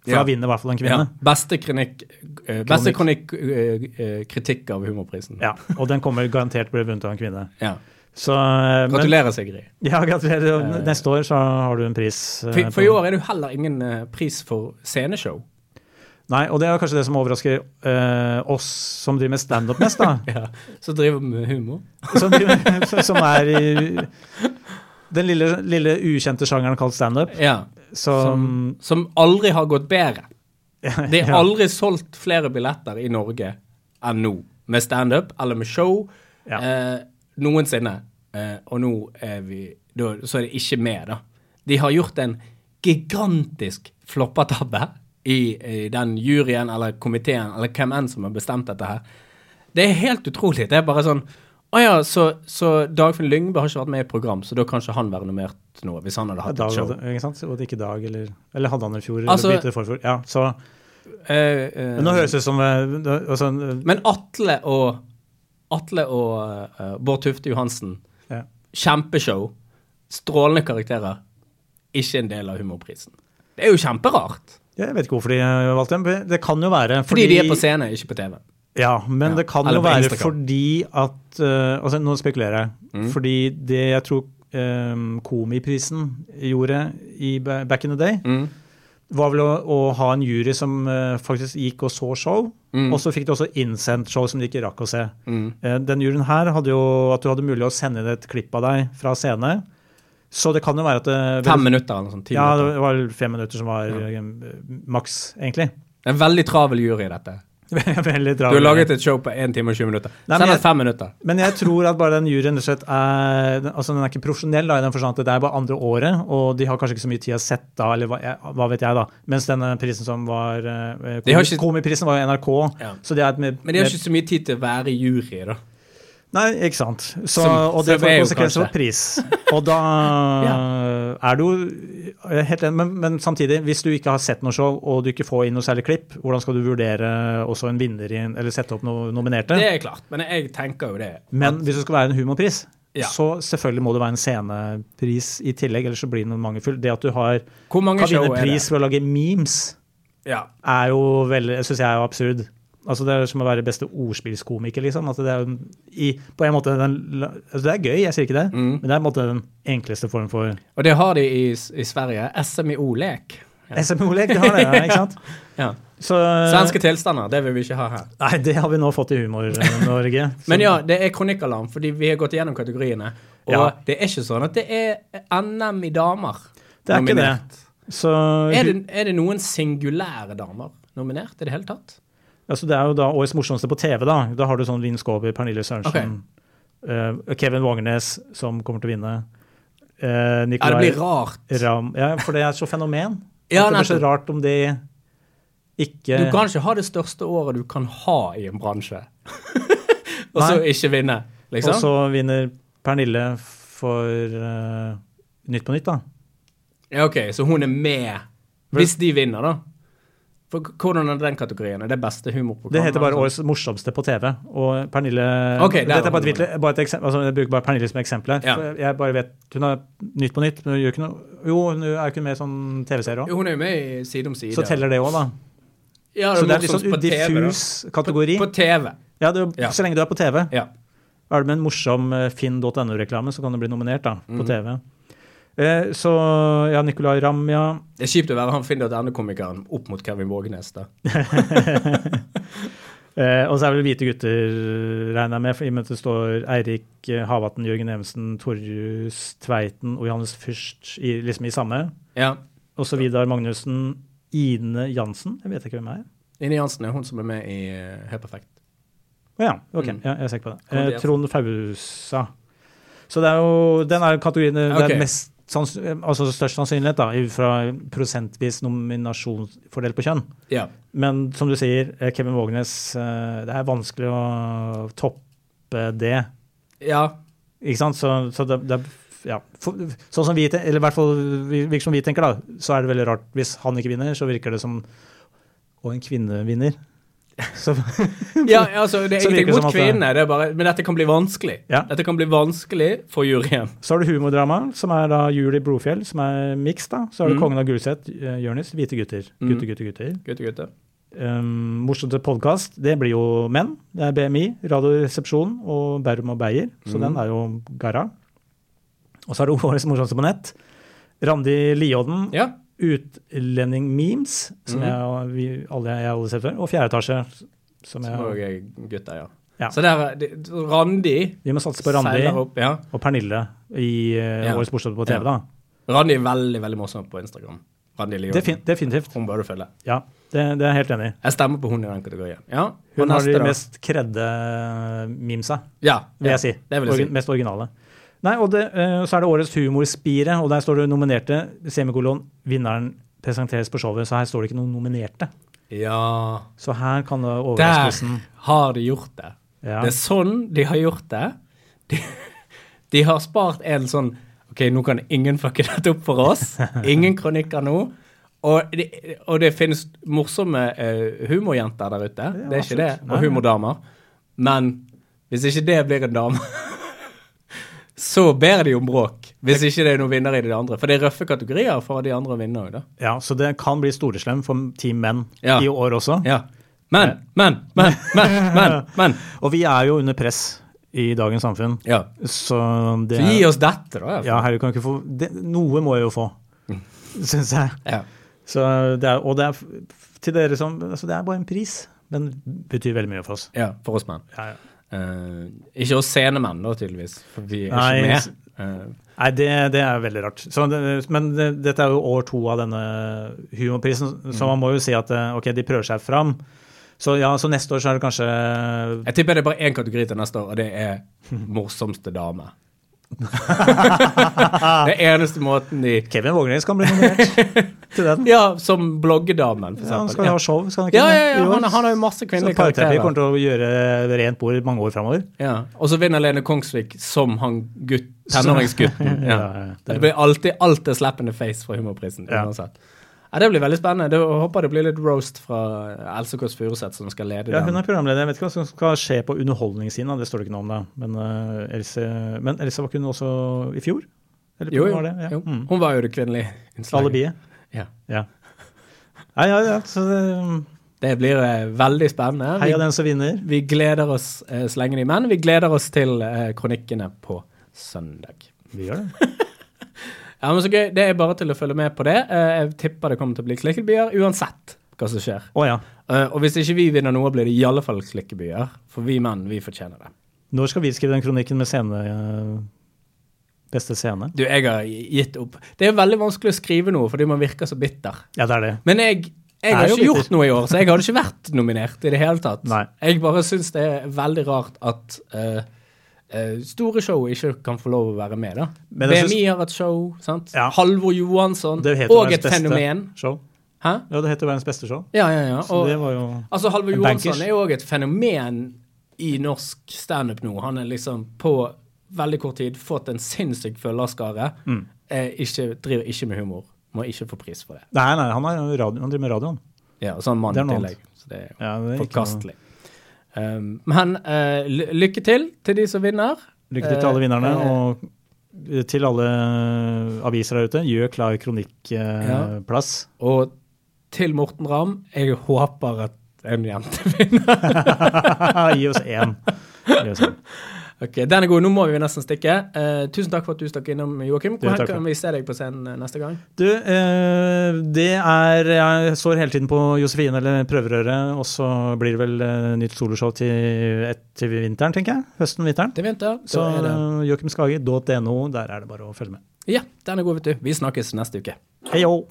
[SPEAKER 2] For
[SPEAKER 1] Ja.
[SPEAKER 2] da vinner i hvert fall en
[SPEAKER 1] Ja.
[SPEAKER 2] kvinne.
[SPEAKER 1] Beste kronikk eh, Beste kronikk eh, eh, kritikk av humorprisen.
[SPEAKER 2] Ja. Og den kommer garantert bli vunnet av en kvinne.
[SPEAKER 1] Ja.
[SPEAKER 2] Så, eh, men-
[SPEAKER 1] Gratulerer, Sigrid.
[SPEAKER 2] Ja, gratulerer.
[SPEAKER 1] Eh.
[SPEAKER 2] Neste år så har du en pris. eh,
[SPEAKER 1] For, for
[SPEAKER 2] på-
[SPEAKER 1] i år er det jo heller ingen eh, pris for sceneshow.
[SPEAKER 2] Nei, og det er kanskje det som overrasker eh, oss som driver med standup mest, da.
[SPEAKER 1] Ja. Så driver vi med humor.
[SPEAKER 2] Som, driver- som er i Den lille, lille ukjente sjangeren kalt standup.
[SPEAKER 1] Ja.
[SPEAKER 2] Som,
[SPEAKER 1] Som aldri har gått bedre. Det er
[SPEAKER 2] Ja.
[SPEAKER 1] aldri solgt flere billetter i Norge enn nå. Med standup eller med show.
[SPEAKER 2] Ja.
[SPEAKER 1] Eh, noensinne. Eh, og nå er vi da, Så er det ikke med, da. De har gjort en gigantisk floppetabbe i, i den juryen eller komiteen eller hvem enn som har bestemt dette her. Det er helt utrolig. Det er bare sånn Å ja, så, så Dagfinn Lyngbø har ikke vært med i program, så da kan ikke han være nominert nå, hvis han hadde hatt
[SPEAKER 2] Dag,
[SPEAKER 1] et show.
[SPEAKER 2] ikke sant? Og ikke Dag, eller, eller hadde han i fjor?
[SPEAKER 1] Altså-
[SPEAKER 2] eller bytte forfjor. Ja, så,
[SPEAKER 1] Eh, eh,
[SPEAKER 2] men nå høres det ut som eh, det- altså,
[SPEAKER 1] Men Atle og Atle og eh, Bård Tufte Johansen.
[SPEAKER 2] ja.
[SPEAKER 1] Kjempeshow. Strålende karakterer. Ikke en del av humorprisen. Det er jo kjemperart.
[SPEAKER 2] Jeg vet ikke hvorfor de eh, valgte dem. Det kan jo være
[SPEAKER 1] Fordi, de er på scene, ikke på TV.
[SPEAKER 2] Ja, men
[SPEAKER 1] Ja.
[SPEAKER 2] det kan
[SPEAKER 1] Eller
[SPEAKER 2] jo
[SPEAKER 1] på
[SPEAKER 2] være
[SPEAKER 1] Instagram. Mm.
[SPEAKER 2] fordi at eh, Altså, nå spekulerer jeg. Fordi det jeg tror eh, Komiprisen gjorde i ba- back in the day,
[SPEAKER 1] Mm,
[SPEAKER 2] var vel å, å ha en jury som eh, faktisk gikk og så show.
[SPEAKER 1] Mm.
[SPEAKER 2] Og så fikk de også innsendt show som de ikke rakk å se. Eh, den juryen her hadde jo at du hadde mulig å sende inn et klipp av deg fra scene. Så det kan jo være at det,
[SPEAKER 1] Fem minutter eller noe sånt. Ti
[SPEAKER 2] Ja,
[SPEAKER 1] minutter.
[SPEAKER 2] det var vel fem minutter som var eh, maks, egentlig.
[SPEAKER 1] Det er en veldig travel jury, dette.
[SPEAKER 2] Veldig
[SPEAKER 1] Du har
[SPEAKER 2] travelt.
[SPEAKER 1] laget et show på 1 time og 20 minutter.
[SPEAKER 2] Nei, men
[SPEAKER 1] Send
[SPEAKER 2] jeg-
[SPEAKER 1] oss fem minutter.
[SPEAKER 2] Men jeg tror at bare den juryen rett og slett er den- Altså, den er ikke profesjonell, da, i den forstand at det er bare andre året, og de har kanskje ikke så mye tid å sett da, eller hva, jeg- hva vet jeg, da. Mens denne prisen som var eh,
[SPEAKER 1] De har
[SPEAKER 2] komi-
[SPEAKER 1] ikke-
[SPEAKER 2] Komiprisen var jo NRK,
[SPEAKER 1] Ja.
[SPEAKER 2] så det er et mer
[SPEAKER 1] Men de har ikke så mye tid til å være i jury, da.
[SPEAKER 2] Nei, ikke sant. Så,
[SPEAKER 1] Som-
[SPEAKER 2] og det
[SPEAKER 1] som
[SPEAKER 2] får
[SPEAKER 1] er jo
[SPEAKER 2] konsekvenser
[SPEAKER 1] kanskje.
[SPEAKER 2] for pris. Og da er du jeg er helt enig, men, men samtidig, hvis du ikke har sett noe show, og du ikke får inn noe særlig klipp, hvordan skal du vurdere også en vinner i en, eller sette opp noen nominerte?
[SPEAKER 1] Det er klart. Men jeg tenker jo det.
[SPEAKER 2] Men hvis det skal være en humorpris,
[SPEAKER 1] Ja.
[SPEAKER 2] så selvfølgelig må det være en scenepris i tillegg, ellers så blir den mangelfull. Det at du har
[SPEAKER 1] Hvor mange
[SPEAKER 2] kan
[SPEAKER 1] show
[SPEAKER 2] vinne
[SPEAKER 1] er det?
[SPEAKER 2] pris ved å lage memes,
[SPEAKER 1] Ja.
[SPEAKER 2] er jo veldig, syns jeg er absurd. Altså Det er som å være beste ordspillskomiker, liksom. At det er jo i, på en måte den, la- altså Det er gøy, jeg sier ikke det,
[SPEAKER 1] Mm.
[SPEAKER 2] men det er på en måte den enkleste form for
[SPEAKER 1] Og det har de i, i Sverige. SMIO-lek.
[SPEAKER 2] SMO-lek. Det har det, ja, ikke sant?
[SPEAKER 1] Ja.
[SPEAKER 2] Så,
[SPEAKER 1] Svenske tilstander, det vil vi ikke ha her.
[SPEAKER 2] Nei, det har vi nå fått i Humor-Norge.
[SPEAKER 1] Men ja, det er kronikkalarm, fordi vi har gått gjennom kategoriene. Og
[SPEAKER 2] Ja.
[SPEAKER 1] det er ikke sånn at det er NM i damer
[SPEAKER 2] Det er ikke det.
[SPEAKER 1] nominert.
[SPEAKER 2] Så
[SPEAKER 1] Er det, er det noen singulære damer nominert i det hele tatt?
[SPEAKER 2] Altså, det er jo da årets morsomste på TV, da. Da har du sånn Linn Skåber, Pernille Sørensen, eh, Kevin Vågenes, som kommer til å vinne. Uh,
[SPEAKER 1] Ja, det
[SPEAKER 2] Nicolai
[SPEAKER 1] blir rart.
[SPEAKER 2] Ram... Ja, for det er så fenomen.
[SPEAKER 1] Ja,
[SPEAKER 2] at det blir så
[SPEAKER 1] nettopp.
[SPEAKER 2] rart om de ikke
[SPEAKER 1] Du kan ikke ha det største året du kan ha i en bransje, og så
[SPEAKER 2] Nei.
[SPEAKER 1] ikke vinne,
[SPEAKER 2] Og
[SPEAKER 1] liksom.
[SPEAKER 2] så vinner Pernille for eh, Nytt på nytt, da.
[SPEAKER 1] Ja, OK, så hun er med hvis de vinner, da. For k- hvordan er den kategorien? Er det beste humorprogrammet? Altså?
[SPEAKER 2] Det heter bare
[SPEAKER 1] eller sånt?
[SPEAKER 2] Årets morsomste på TV. Og Pernille
[SPEAKER 1] Ok, der
[SPEAKER 2] Dette er
[SPEAKER 1] var
[SPEAKER 2] bare et,
[SPEAKER 1] den.
[SPEAKER 2] vidt- bare et eksempel, altså, Jeg bruker bare Pernille som eksempel. her.
[SPEAKER 1] Ja.
[SPEAKER 2] For Jeg bare vet, Hun har Nytt på nytt, men hun gjør ikke noe Jo, hun er ikke med i sånn TV-serie òg.
[SPEAKER 1] Jo, hun er jo med i Side om side.
[SPEAKER 2] Så teller det òg, da.
[SPEAKER 1] ja,
[SPEAKER 2] Så det er litt
[SPEAKER 1] morsomst
[SPEAKER 2] sånn
[SPEAKER 1] på TV, da.
[SPEAKER 2] diffus kategori.
[SPEAKER 1] På TV.
[SPEAKER 2] Ja, det er, jo-
[SPEAKER 1] Ja.
[SPEAKER 2] Så lenge du er på TV.
[SPEAKER 1] Ja.
[SPEAKER 2] Er du med en morsom eh, finn.no-reklame, så kan du bli nominert da,
[SPEAKER 1] Mm.
[SPEAKER 2] på TV. Eh, så ja, Nicolay Ramm, ja.
[SPEAKER 1] Det er kjipt å være han finn.no-komikeren opp mot Kevin Vågenes. da.
[SPEAKER 2] Eh, og så er vel Hvite gutter, regner jeg med, for i og med at det står Eirik eh, Havatn, Jørgen Evensen, Torjus Tveiten og Johannes Fürst i, liksom i samme.
[SPEAKER 1] Ja.
[SPEAKER 2] Og så Vidar Magnussen, Ine Jansen, jeg vet ikke hvem er.
[SPEAKER 1] Ine Jansen er hun som er med i eh, Helt perfekt.
[SPEAKER 2] Å ja, ok,
[SPEAKER 1] Mm.
[SPEAKER 2] ja, jeg er sikker på det.
[SPEAKER 1] Kom
[SPEAKER 2] Eh,
[SPEAKER 1] det.
[SPEAKER 2] Trond Fausa. Så det er jo den er kategorien eh, det
[SPEAKER 1] Ok.
[SPEAKER 2] er mest sanns, altså størst sannsynlighet, da, ut fra prosentvis nominasjonsfordel på kjønn.
[SPEAKER 1] Ja.
[SPEAKER 2] Men som du sier, eh, Kevin Vågenes, eh, det er vanskelig å toppe det.
[SPEAKER 1] ja.
[SPEAKER 2] Ikke sant? Så, så det, det er ja. For, sånn som vi, ten- eller i hvert fall vi- virker som vi tenker, da, så er det veldig rart. Hvis han ikke vinner, så virker det som Og en kvinne vinner. Så
[SPEAKER 1] ja, altså, det er
[SPEAKER 2] Så
[SPEAKER 1] ingenting
[SPEAKER 2] virker det som
[SPEAKER 1] mot
[SPEAKER 2] at det-
[SPEAKER 1] kvinnene, det er bare Men dette kan bli vanskelig.
[SPEAKER 2] Ja.
[SPEAKER 1] Dette kan bli vanskelig for juryen.
[SPEAKER 2] Så har du humordrama, som er da Julie Brofjell, som er miks. da. Så har du
[SPEAKER 1] Mm.
[SPEAKER 2] Kongen av Gulset, eh, Jonis, Hvite gutter.
[SPEAKER 1] Mm.
[SPEAKER 2] Gutter, gutter, gutter.
[SPEAKER 1] Gutter, gutter.
[SPEAKER 2] Um, morsomste podkast, det blir jo Menn. Det er BMI, Radioresepsjon og Bærum og Beyer. Så
[SPEAKER 1] Mm.
[SPEAKER 2] den er jo garra. Og så har du Årets morsomste på nett. Randi Liodden,
[SPEAKER 1] Ja.
[SPEAKER 2] Utlending-memes, som
[SPEAKER 1] Mm.
[SPEAKER 2] jeg, og vi, alle, jeg alle ser før. Og Fjerde etasje, som
[SPEAKER 1] Som
[SPEAKER 2] jeg
[SPEAKER 1] òg er eh, gutter, ja.
[SPEAKER 2] Ja.
[SPEAKER 1] Så der, det- Randi
[SPEAKER 2] Vi må satse på Randi
[SPEAKER 1] seiler opp. Ja.
[SPEAKER 2] og Pernille i eh,
[SPEAKER 1] Ja.
[SPEAKER 2] Årets bursdag på TV,
[SPEAKER 1] Ja.
[SPEAKER 2] da.
[SPEAKER 1] Randi er veldig veldig morsom på Instagram. Randi Lion.
[SPEAKER 2] Defin definitivt.
[SPEAKER 1] Hun bør du følge.
[SPEAKER 2] Ja, det, det er jeg helt enig i.
[SPEAKER 1] Jeg stemmer på hun i den kategorien. Ja, hun
[SPEAKER 2] Hun har
[SPEAKER 1] neste,
[SPEAKER 2] de
[SPEAKER 1] da.
[SPEAKER 2] mest kredde memesa,
[SPEAKER 1] ja,
[SPEAKER 2] vil
[SPEAKER 1] ja,
[SPEAKER 2] jeg si.
[SPEAKER 1] Det vil jeg
[SPEAKER 2] Orgi-
[SPEAKER 1] si.
[SPEAKER 2] Mest originale. Nei, og det, eh, så er det Årets humorspire, og der står det nominerte, semikolon, vinneren presenteres på showet, så her står det ikke noen nominerte.
[SPEAKER 1] Ja
[SPEAKER 2] Så her kan det
[SPEAKER 1] Der
[SPEAKER 2] overraskelsen
[SPEAKER 1] har de gjort det.
[SPEAKER 2] Ja.
[SPEAKER 1] Det er sånn de har gjort det. De, de har spart en sånn OK, nå kan ingen fucke dette opp for oss. Ingen kronikker nå. Og det, og det finnes morsomme eh, humorjenter der ute.
[SPEAKER 2] Ja,
[SPEAKER 1] det er ikke det.
[SPEAKER 2] absolutt.
[SPEAKER 1] Og
[SPEAKER 2] Nei, nei.
[SPEAKER 1] humordamer. Men hvis ikke det blir en dame, så ber de om bråk. Hvis ikke det er noen vinner i de andre. For det er røffe kategorier for de andre å vinne òg, da.
[SPEAKER 2] Ja, så det kan bli storeslem for Team Menn
[SPEAKER 1] Ja.
[SPEAKER 2] i år også.
[SPEAKER 1] Ja. Men, men, men, men, men. men.
[SPEAKER 2] Og vi er jo under press i dagens samfunn,
[SPEAKER 1] Ja.
[SPEAKER 2] så det
[SPEAKER 1] Så gi oss Mm. dette, da. i hvert
[SPEAKER 2] Ja,
[SPEAKER 1] fall.
[SPEAKER 2] herre, kan ikke få det, Noe må jeg jo få, syns jeg.
[SPEAKER 1] Ja.
[SPEAKER 2] Så det er, og det er f- til dere som altså Det er bare en pris, men betyr veldig mye for oss.
[SPEAKER 1] ja, for oss menn.
[SPEAKER 2] Ja, ja.
[SPEAKER 1] Eh, ikke oss scenemenn, da, tydeligvis. For vi er
[SPEAKER 2] Nei, s-
[SPEAKER 1] ikke med. Eh,
[SPEAKER 2] Nei, det, det er veldig rart. Så det, men det, dette er jo år to av denne humorprisen, så
[SPEAKER 1] Mm.
[SPEAKER 2] man må jo si at eh, ok, de prøver seg fram. Så ja, så neste år så er det kanskje
[SPEAKER 1] Eh, jeg tipper det er bare én kategori til neste år, og det er morsomste dame. det eneste måten de
[SPEAKER 2] Kevin Vågenes kan bli nominert til den.
[SPEAKER 1] Ja, som bloggedamen, for
[SPEAKER 2] Ja, han
[SPEAKER 1] eksempel.
[SPEAKER 2] skal
[SPEAKER 1] Ja,
[SPEAKER 2] ha show, skal han ikke?
[SPEAKER 1] ja, ja,
[SPEAKER 2] I
[SPEAKER 1] ja
[SPEAKER 2] år.
[SPEAKER 1] han, han har jo masse
[SPEAKER 2] så
[SPEAKER 1] kvinnelige
[SPEAKER 2] parterapi
[SPEAKER 1] karakterer.
[SPEAKER 2] kommer til å gjøre rent bord i mange år framover.
[SPEAKER 1] Ja. Og så vinner Lene Kongsvik som han gutt, tenåringsgutten. Ja.
[SPEAKER 2] Ja, ja, ja.
[SPEAKER 1] Det blir alltid alt er slap in the face fra humorprisen.
[SPEAKER 2] Ja.
[SPEAKER 1] uansett. Ja, det blir veldig spennende. Det- Jeg håper det blir litt roast fra Else Kåss Furuseth, som skal lede
[SPEAKER 2] Ja,
[SPEAKER 1] den.
[SPEAKER 2] hun er programleder. Jeg vet ikke hva som skal skje på underholdningssiden. da. Det står det ikke noe om, da. Men, eh, Else, men Else var ikke hun også i fjor? Eller
[SPEAKER 1] Jo, jo.
[SPEAKER 2] var det? Ja.
[SPEAKER 1] jo.
[SPEAKER 2] Mm.
[SPEAKER 1] Hun var jo det kvinnelige innslaget.
[SPEAKER 2] Alibiet.
[SPEAKER 1] Ja.
[SPEAKER 2] Ja. Nei, ja, ja. Så det,
[SPEAKER 1] Det blir eh, veldig spennende. Vi,
[SPEAKER 2] heia den som vinner.
[SPEAKER 1] vi gleder oss eh, så lenge de er menn. Vi gleder oss til eh, kronikkene på søndag.
[SPEAKER 2] Vi gjør det.
[SPEAKER 1] Ja, men så gøy. Det er bare til å følge med på det. Eh, jeg tipper det kommer til å bli klikkebyer uansett hva som skjer.
[SPEAKER 2] Å ja.
[SPEAKER 1] Eh, og hvis ikke vi vinner noe, blir det i alle fall klikkebyer. For vi menn, vi fortjener det.
[SPEAKER 2] Når skal vi skrive den kronikken med scene eh, Beste scene?
[SPEAKER 1] Du, jeg har gitt opp. Det er veldig vanskelig å skrive noe fordi man virker så bitter.
[SPEAKER 2] Ja, det er det.
[SPEAKER 1] Men jeg, jeg
[SPEAKER 2] Er
[SPEAKER 1] har ikke
[SPEAKER 2] jo bitter.
[SPEAKER 1] gjort noe i år, så jeg hadde ikke vært nominert i det hele tatt.
[SPEAKER 2] Nei.
[SPEAKER 1] Jeg bare syns det er veldig rart at eh, eh, store show ikke kan få lov å være med, da.
[SPEAKER 2] Men jeg
[SPEAKER 1] BMI
[SPEAKER 2] synes-
[SPEAKER 1] har et show, sant.
[SPEAKER 2] Ja.
[SPEAKER 1] Halvor Johansson.
[SPEAKER 2] Det heter
[SPEAKER 1] Og
[SPEAKER 2] verdens
[SPEAKER 1] et
[SPEAKER 2] beste
[SPEAKER 1] fenomen.
[SPEAKER 2] Show.
[SPEAKER 1] Hæ?
[SPEAKER 2] Ja, det heter verdens beste show.
[SPEAKER 1] Ja, ja, ja.
[SPEAKER 2] Så
[SPEAKER 1] Og,
[SPEAKER 2] det var jo
[SPEAKER 1] altså, Halvor
[SPEAKER 2] En
[SPEAKER 1] Johansson
[SPEAKER 2] bankers.
[SPEAKER 1] er jo òg et fenomen i norsk standup nå. Han er liksom på veldig kort tid fått en sinnssyk følgerskare.
[SPEAKER 2] Mm.
[SPEAKER 1] Eh, ikke, driver ikke med humor. Må ikke få pris for det.
[SPEAKER 2] Nei, nei, han, er jo radio, han driver med radioen.
[SPEAKER 1] Ja, og så har han mann
[SPEAKER 2] Det
[SPEAKER 1] i
[SPEAKER 2] er noe
[SPEAKER 1] tillegg. Så det er jo
[SPEAKER 2] Ja, det er ikke
[SPEAKER 1] forkastelig. Um, men eh, ly- lykke til til de som vinner.
[SPEAKER 2] noe- Lykke til til alle
[SPEAKER 1] Eh,
[SPEAKER 2] vinnerne,
[SPEAKER 1] eh,
[SPEAKER 2] og eh, til alle eh, aviser der ute. Gjør klar eh,
[SPEAKER 1] Ja.
[SPEAKER 2] kronikkplass.
[SPEAKER 1] Og til Morten Ramm, jeg håper at en jente vinner.
[SPEAKER 2] Gi oss én. Gi oss én.
[SPEAKER 1] ok, Den er god. Nå må vi nesten stikke. Eh, tusen takk for at du stakk innom, Joakim.
[SPEAKER 2] Jo,
[SPEAKER 1] Hvor
[SPEAKER 2] takk.
[SPEAKER 1] kan vi se deg på scenen eh, neste gang?
[SPEAKER 2] Du, eh, det er Jeg står hele tiden på Josefine eller prøverøret, og så blir det vel eh, nytt soloshow til, et, til vinteren, tenker jeg. Høsten-vinteren.
[SPEAKER 1] Til vinter.
[SPEAKER 2] Så
[SPEAKER 1] da
[SPEAKER 2] eh,
[SPEAKER 1] er det.
[SPEAKER 2] joakimskage.no, der er det bare å følge med.
[SPEAKER 1] Ja, den er god, vet du. Vi snakkes neste uke.
[SPEAKER 2] Hei, yo!